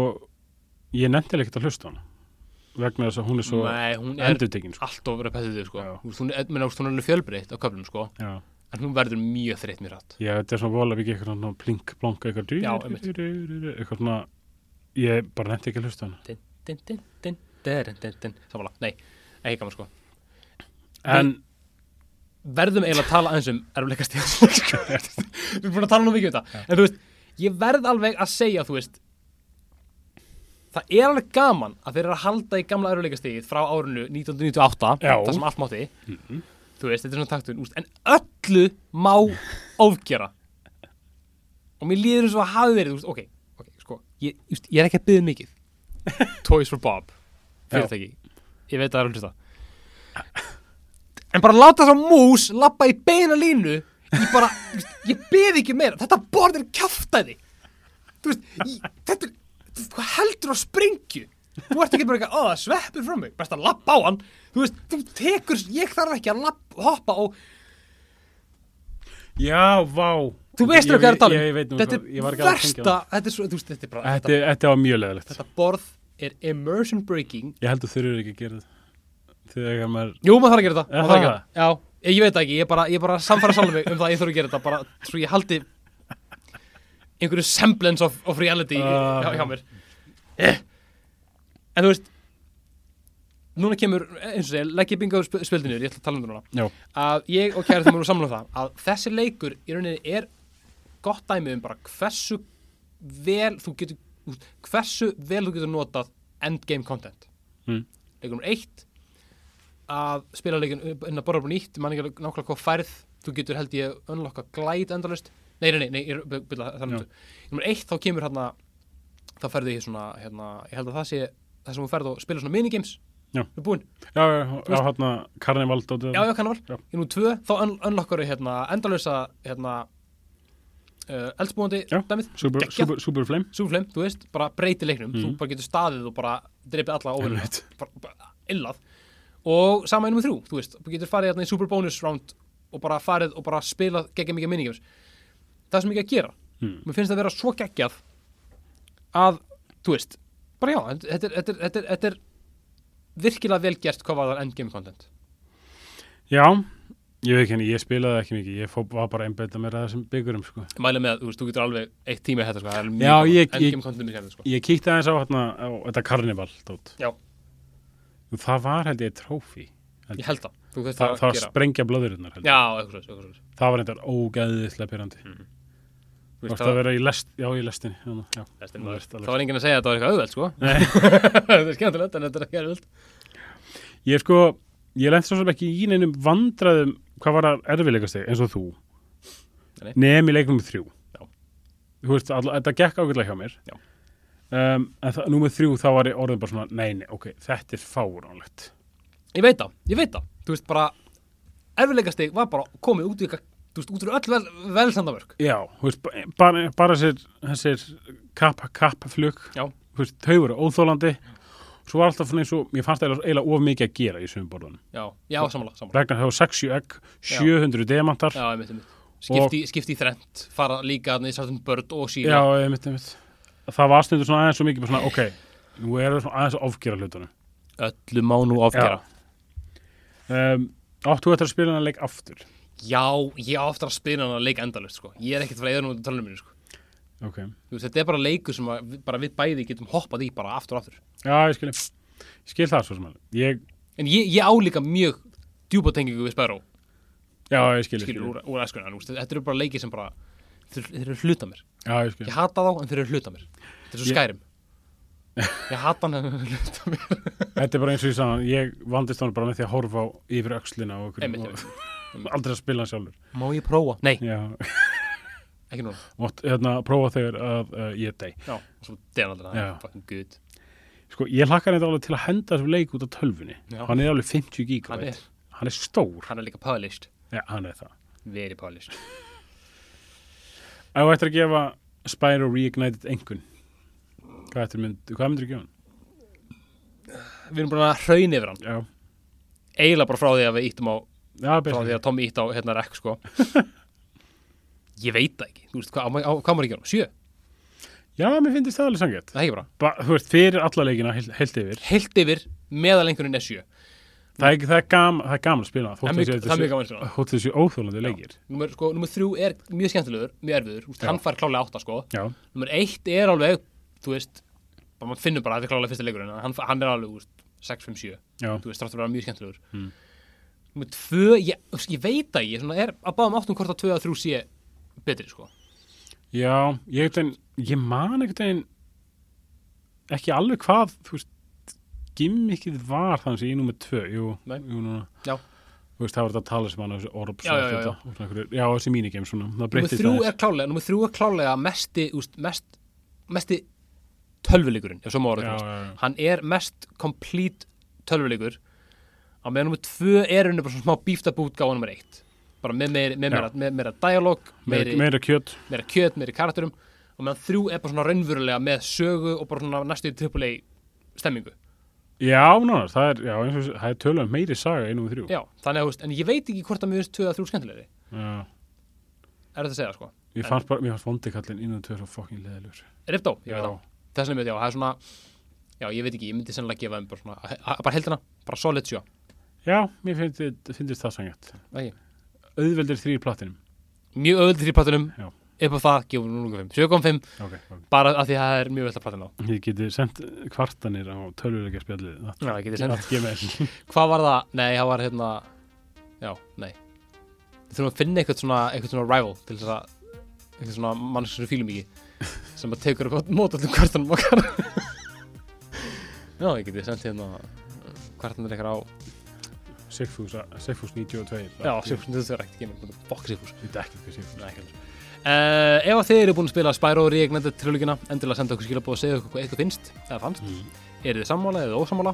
ég nefndi ekkert að hlusta á hana vegna þess að hún er svo Nei, hún er endurtekin sko. allt of repetitiv sko. Já. Þú veist, hún, er- meina, þú veist, hún er alveg fjölbreytt á köflum sko. já. en hún verður mjög þreytt mjög rætt já, þetta er svona vola ekki eitthvað svona plink, blonka eitthvað Já, einmitt. eitthvað svona ég bara nefndi ekki að hlusta á hana din, din, din, din, din, din, din. samanlega, nei, ekki gaman sko en verðum eiginlega að tala aðeins um erfleika stíðan sko. við erum búin að tala nú mikið um þetta en þú veist, ég verð alveg að segja þú veist það er alveg gaman að þeir eru að halda í gamla erfleika stíðið frá árinu 1998 Já. það sem allt mátti þú veist, þetta er svona taktun úst, en öllu má ofgjara og mér líður eins og að hafi verið úst, um ok, ok, sko ég, úst, ég er ekki að byggja mikið Toys for Bob fyrirtæki, ég veit að það er að hlusta en bara láta þess að mús lappa í beina línu ég bara, ég beði ekki meira þetta borð er kjaftæði þú veist, ég, þetta er þú- hvað heldur á sprengju þú ert ekki bara eitthvað, ó það sveppur frá mig best að lappa á hann, þú veist, þú tekur ég þarf ekki að lappa, hoppa og Já, vá þú veist Ég- ekki hvað er að tala ég- um ég veit nú þetta hvað- ég var er ekki alveg að tengja versta, þetta er svo, þú veist, þetta er bara það. Þetta þetta var mjög leðilegt þetta borð er immersion breaking Ég held að þurfur ekki að gera það Þegar maður Jú, maður þarf að gera þetta Er Maður þarf að það gera þetta. Já, ég veit það ekki, ég bara, ég bara samfæra sjálf mig um það að ég þarf að gera þetta bara svo ég haldi einhverju semblance of, of reality Ah. hjá, hjá mér eh. En þú veist núna kemur, eins og segja, legg ég bingo sp spildinu, ég ætla að tala um það núna Já, að ég og kæra þeim eru samlega um það að þessi leikur í rauninni er gott dæmi um bara hversu vel þú getur þú veist, hversu vel þú getur notað endgame content Mm. leikur um eitt að spila leikin inn að borða upp á nýtt mann ekki alveg nákvæmlega hvað færð þú getur held ég unlocka glæð endalust nei, nei, nei, nei ég er- by- byrla, það er Já. náttúr nummer eitt þá kemur hérna þá færðu ég svona hérna, ég held að það sé það sem þú færð og spila svona minigames Já. Þú ert búinn já, já, já hérna Karneval dótið já, já, kannaval, Já. í nú tvö þá un unlockar við hérna endalösa hérna uh, eldsbúandi Já. dæmið, Super, geggjað. super, super Flame súflem, þú veist, bara breyti leiknum þú bara getur staðið og bara dreipið alla óvinnum, Einmitt. bara, bara illað og sama einum með þrjú, þú veist þú getur farið hérna í super bonus round og bara farið og bara spilað geggja mikið minigames það er svo mikið að gera Mm. mér finnst það vera svo geggjað að, þú veist, bara já þetta er, þetta er, þetta er, þetta er virkilega vel gert hvað var það endgame content Já, ég veit ekki henni, ég spilaði ekki mikið Ég fó, var bara að einbeita mér að þessum byggurum sko. mæla með að þú veist, þú getur alveg eitt tíma í þetta sko, það er Já, mjög ég- en ég- kemur kontinum í hérna sko Ég kíkti aðeins á, hérna, á þetta Karneval dót Já, Og Það var held ég trófi held ég held það, þú veist Það, það það að var gera sprengja blöðurinnar held ég. Já, eitthvað svo, eitthvað svo Það var eitthvað ógæðislega pyrrandi mm. Þú veist, Það það var að vera í lest, já, í lestinni já, já. Lestin Þú var- veist, alveg. það var enginn að segja að það var eitthvað auðveld sko Það er skemmtilegt en þetta er ekki auðveld Ég sko, ég lent svo sem ekki í neinum vandræðum hvað var að erfiðleikast þig eins og þú Nei. nefn í leikum þrjú Já. Þú veist, all, þetta gekk ágætlega hjá mér Já. um, en það, númer þrjú þá var ég orðin bara svona, nei, nei, ok, þetta er fáránlegt Ég veit það, ég veit það, þú veist bara erfiðleikastig var bara komið út í eitthvað þú veist, út úr öll vel, velsandamörk Já, þú veist, ba- bara, bara þessir, þessir kappa, kappaflug Já, þú veist, þau voru óþólandi svo var alltaf svona eins og, mér fannst það eiginlega of mikið að gera í sömumborðunum já, já, samanlega, samanlega vegna það var 60 egg, 700 demantar Já, ég mitt, ég mitt Skipti, skipti í þrent, fara líka þarna í sáttum börn og Já, síra einmitt, einmitt. Það var stundur svona aðeins svo mikið, bara svona, ok, nú er það svona aðeins að ofgera hlutunum. Öllu má nú ofgera Um, áttu eftir að spila hennar leik aftur? Já, ég á aftur að spila hann að leika endalust sko. Ég er ekkert frá eðan út af tölunum mínu sko. Ok. Þú veist, þetta er bara leikur sem að, við- bara við bæði getum hoppað í bara aftur og aftur. Já, ég skil, ég skil það svo sem alveg. Ég, En ég, ég álíka mjög djúpa tengingu við Sparrow, já, ég skil, ég skil. skilur úr, úr æskunni, en þú veist, þetta eru bara leiki sem bara, þeir, þeir eru hluta mér. Já, ég skil. Ég hata þá, en þeir eru hluta mér. Þetta er svo Ég- skærim. Ég hata hann en þeir eru hluta mér. Þetta er bara eins og ég sagði, ég vandist hann bara með því að horfa á yfir öxlina og okkur. Einmitt, og, aldrei að spila hann sjálfur. Má ég prófa? Nei, Já, ekki núna. mátt, hérna, prófa þegar að uh, ég dey. Já, svo denaldina, það Já. er fucking good. Sko, ég hlakka hann alveg til að henda þessum leik út af tölfunni. Já. Hann er alveg 50 Hann er, gigabyte. Hann er stór. hann er líka polished, Já, hann er það. very polished. Ef þú ættir að gefa Spyro Reignited einhvern hvað, ættir mynd, hvað myndir þú gefa hann? Við erum búin að hraun yfir hann, Já, eiginlega bara frá því að við íttum á já frá því betur að Tommy ítt á hérna rekk sko ég veit það ekki þú veist, hvað, á, á, hvað maður ekki á honum? sjö, Já, mér finnst það alveg sangett það er ekki bara ba, Þú veist, fyrir alla leikina heilt, heilt yfir heilt yfir meðalengurinn er sjö Það er, ekki- það er, gam, það er gaman að spila það er þótt mjög- þessi- það er mjög gaman að spila. Þótt þessi óþólandi leikir nummer, sko, nummer þrjú er mjög skemmtilegur mjög erfiður, Úst, Já. hann fær klálega átta sko Já, nummer eitt er alveg, þú veist bara maður finnur bara að þetta er klálega fyrsta leikurinn en hann, hann er alveg, úst, 6, 5, 7 já, Hmm. þú veist, þráttur að vera mjög skemmtilegur nummer tvö, ég, þú veist, ég veit það ekki ég svona er að báðum áttum hvort að tvö að þrjú sé betri sko, já Ég, einhvern veginn- ég man einhvern veginn ekki alveg hvað þú veist, gimmickið var þannig sem ég númer tvö Jú, Nei. jú núna já Þú veist, það var þetta að tala sem hann þessi orb Já, já, já, já. já. já, þessi mínigame svona Það Númer breyttist þrjú aðeins. er klálega, númer þrjú er klálega mesti, úst, mest, mesti tölvuleikurinn, ef svo má orða Já, komast. já, já. Hann er mest complete tölvuleikur á meðan nummer 2 er henni bara svona smá bíft að bút gáða nummer 1 bara með meira, með Já. meira, með meira dialog meira, meiri, meira kjöt meira kjöt, meiri karakterum og meðan 3 er bara svona raunverulega með sögu og bara svona næstu í AAA stemmingu Já, nánar, það er, já, eins og það er tölum meiri saga einum og þrjú Já, þannig að, þú veist, en ég veit ekki hvort að mér finnst 2 að 3 skemmtilegri Já. er þetta að segja sko Ég fannst bara, mér fannst vondikallin innan tvö svo fucking leðilur Riptó, ég veit það þess vegna veit ég á, það er svona já, ég veit ekki, ég myndi sennilega gefa þeim bara svona að- að- bara heldina, bara solid sjó já, mér finnst, finnst það sangjart Auðveldir þrýr platinum mjög öðvöldir í platunum, Já. upp á það gefum við 0.5, 7.5 okay, okay. bara af því að það er mjög öll að platina á Ég geti sendt kvartanir á tölvuleika spjallið Já, það getið sendt. Allt gemel Hvað var það? Nei, það var hérna Já, nei Við þurfum að finna eitthvað svona, eitthvað svona rival til þess að eitthvað svona mann sem við fílum ekki sem að tekur upp á mót allum kvartanum okkar Já, ég getið sendt hérna kvartanir eitthvað á Sigfús Sigfús 92 Já, sjöfnir þetta er ekkert gemur Fokk sjöfnir Þetta er ekki hvað Sigfús Nei, ekki Uh, ef að þið eru búin að spila Spyro og Reignended trilógina, endilega senda okkur skilabóð og segja okkur hvað eitthvað finnst, eða fannst Mm. eru þið sammála eða ósammála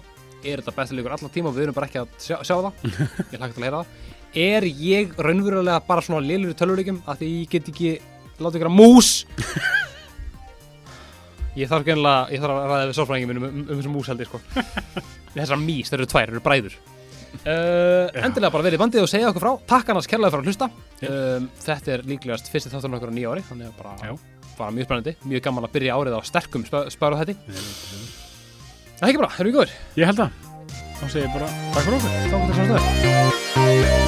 er þetta besti leikur allan tíma og við erum bara ekki að sjá, sjá það ég hlakka til að heyra það er ég raunverulega bara svona lélur í tölvuleikum af því ég get ekki láta ykkur að mús ég þarf gennilega ég þarf að ræða við sálfræðingin minn um, um, um þessum mús held ég sko þessar mís, þeir eru tvær, þeir eru bræður uh, endilega bara verið bandið og segja okkur frá takk annars kærlega fyrir að hlusta Já. um, þetta er líklegast fyrsti þátturinn okkar á nýja ári þannig að Já. bara, bara mjög spennandi mjög gaman að byrja árið á sterkum spæra þetta Það er ekki bara, erum við góður? Ég held það Þá segir ég bara Takk fyrir okkur Þá komum við til samstæður.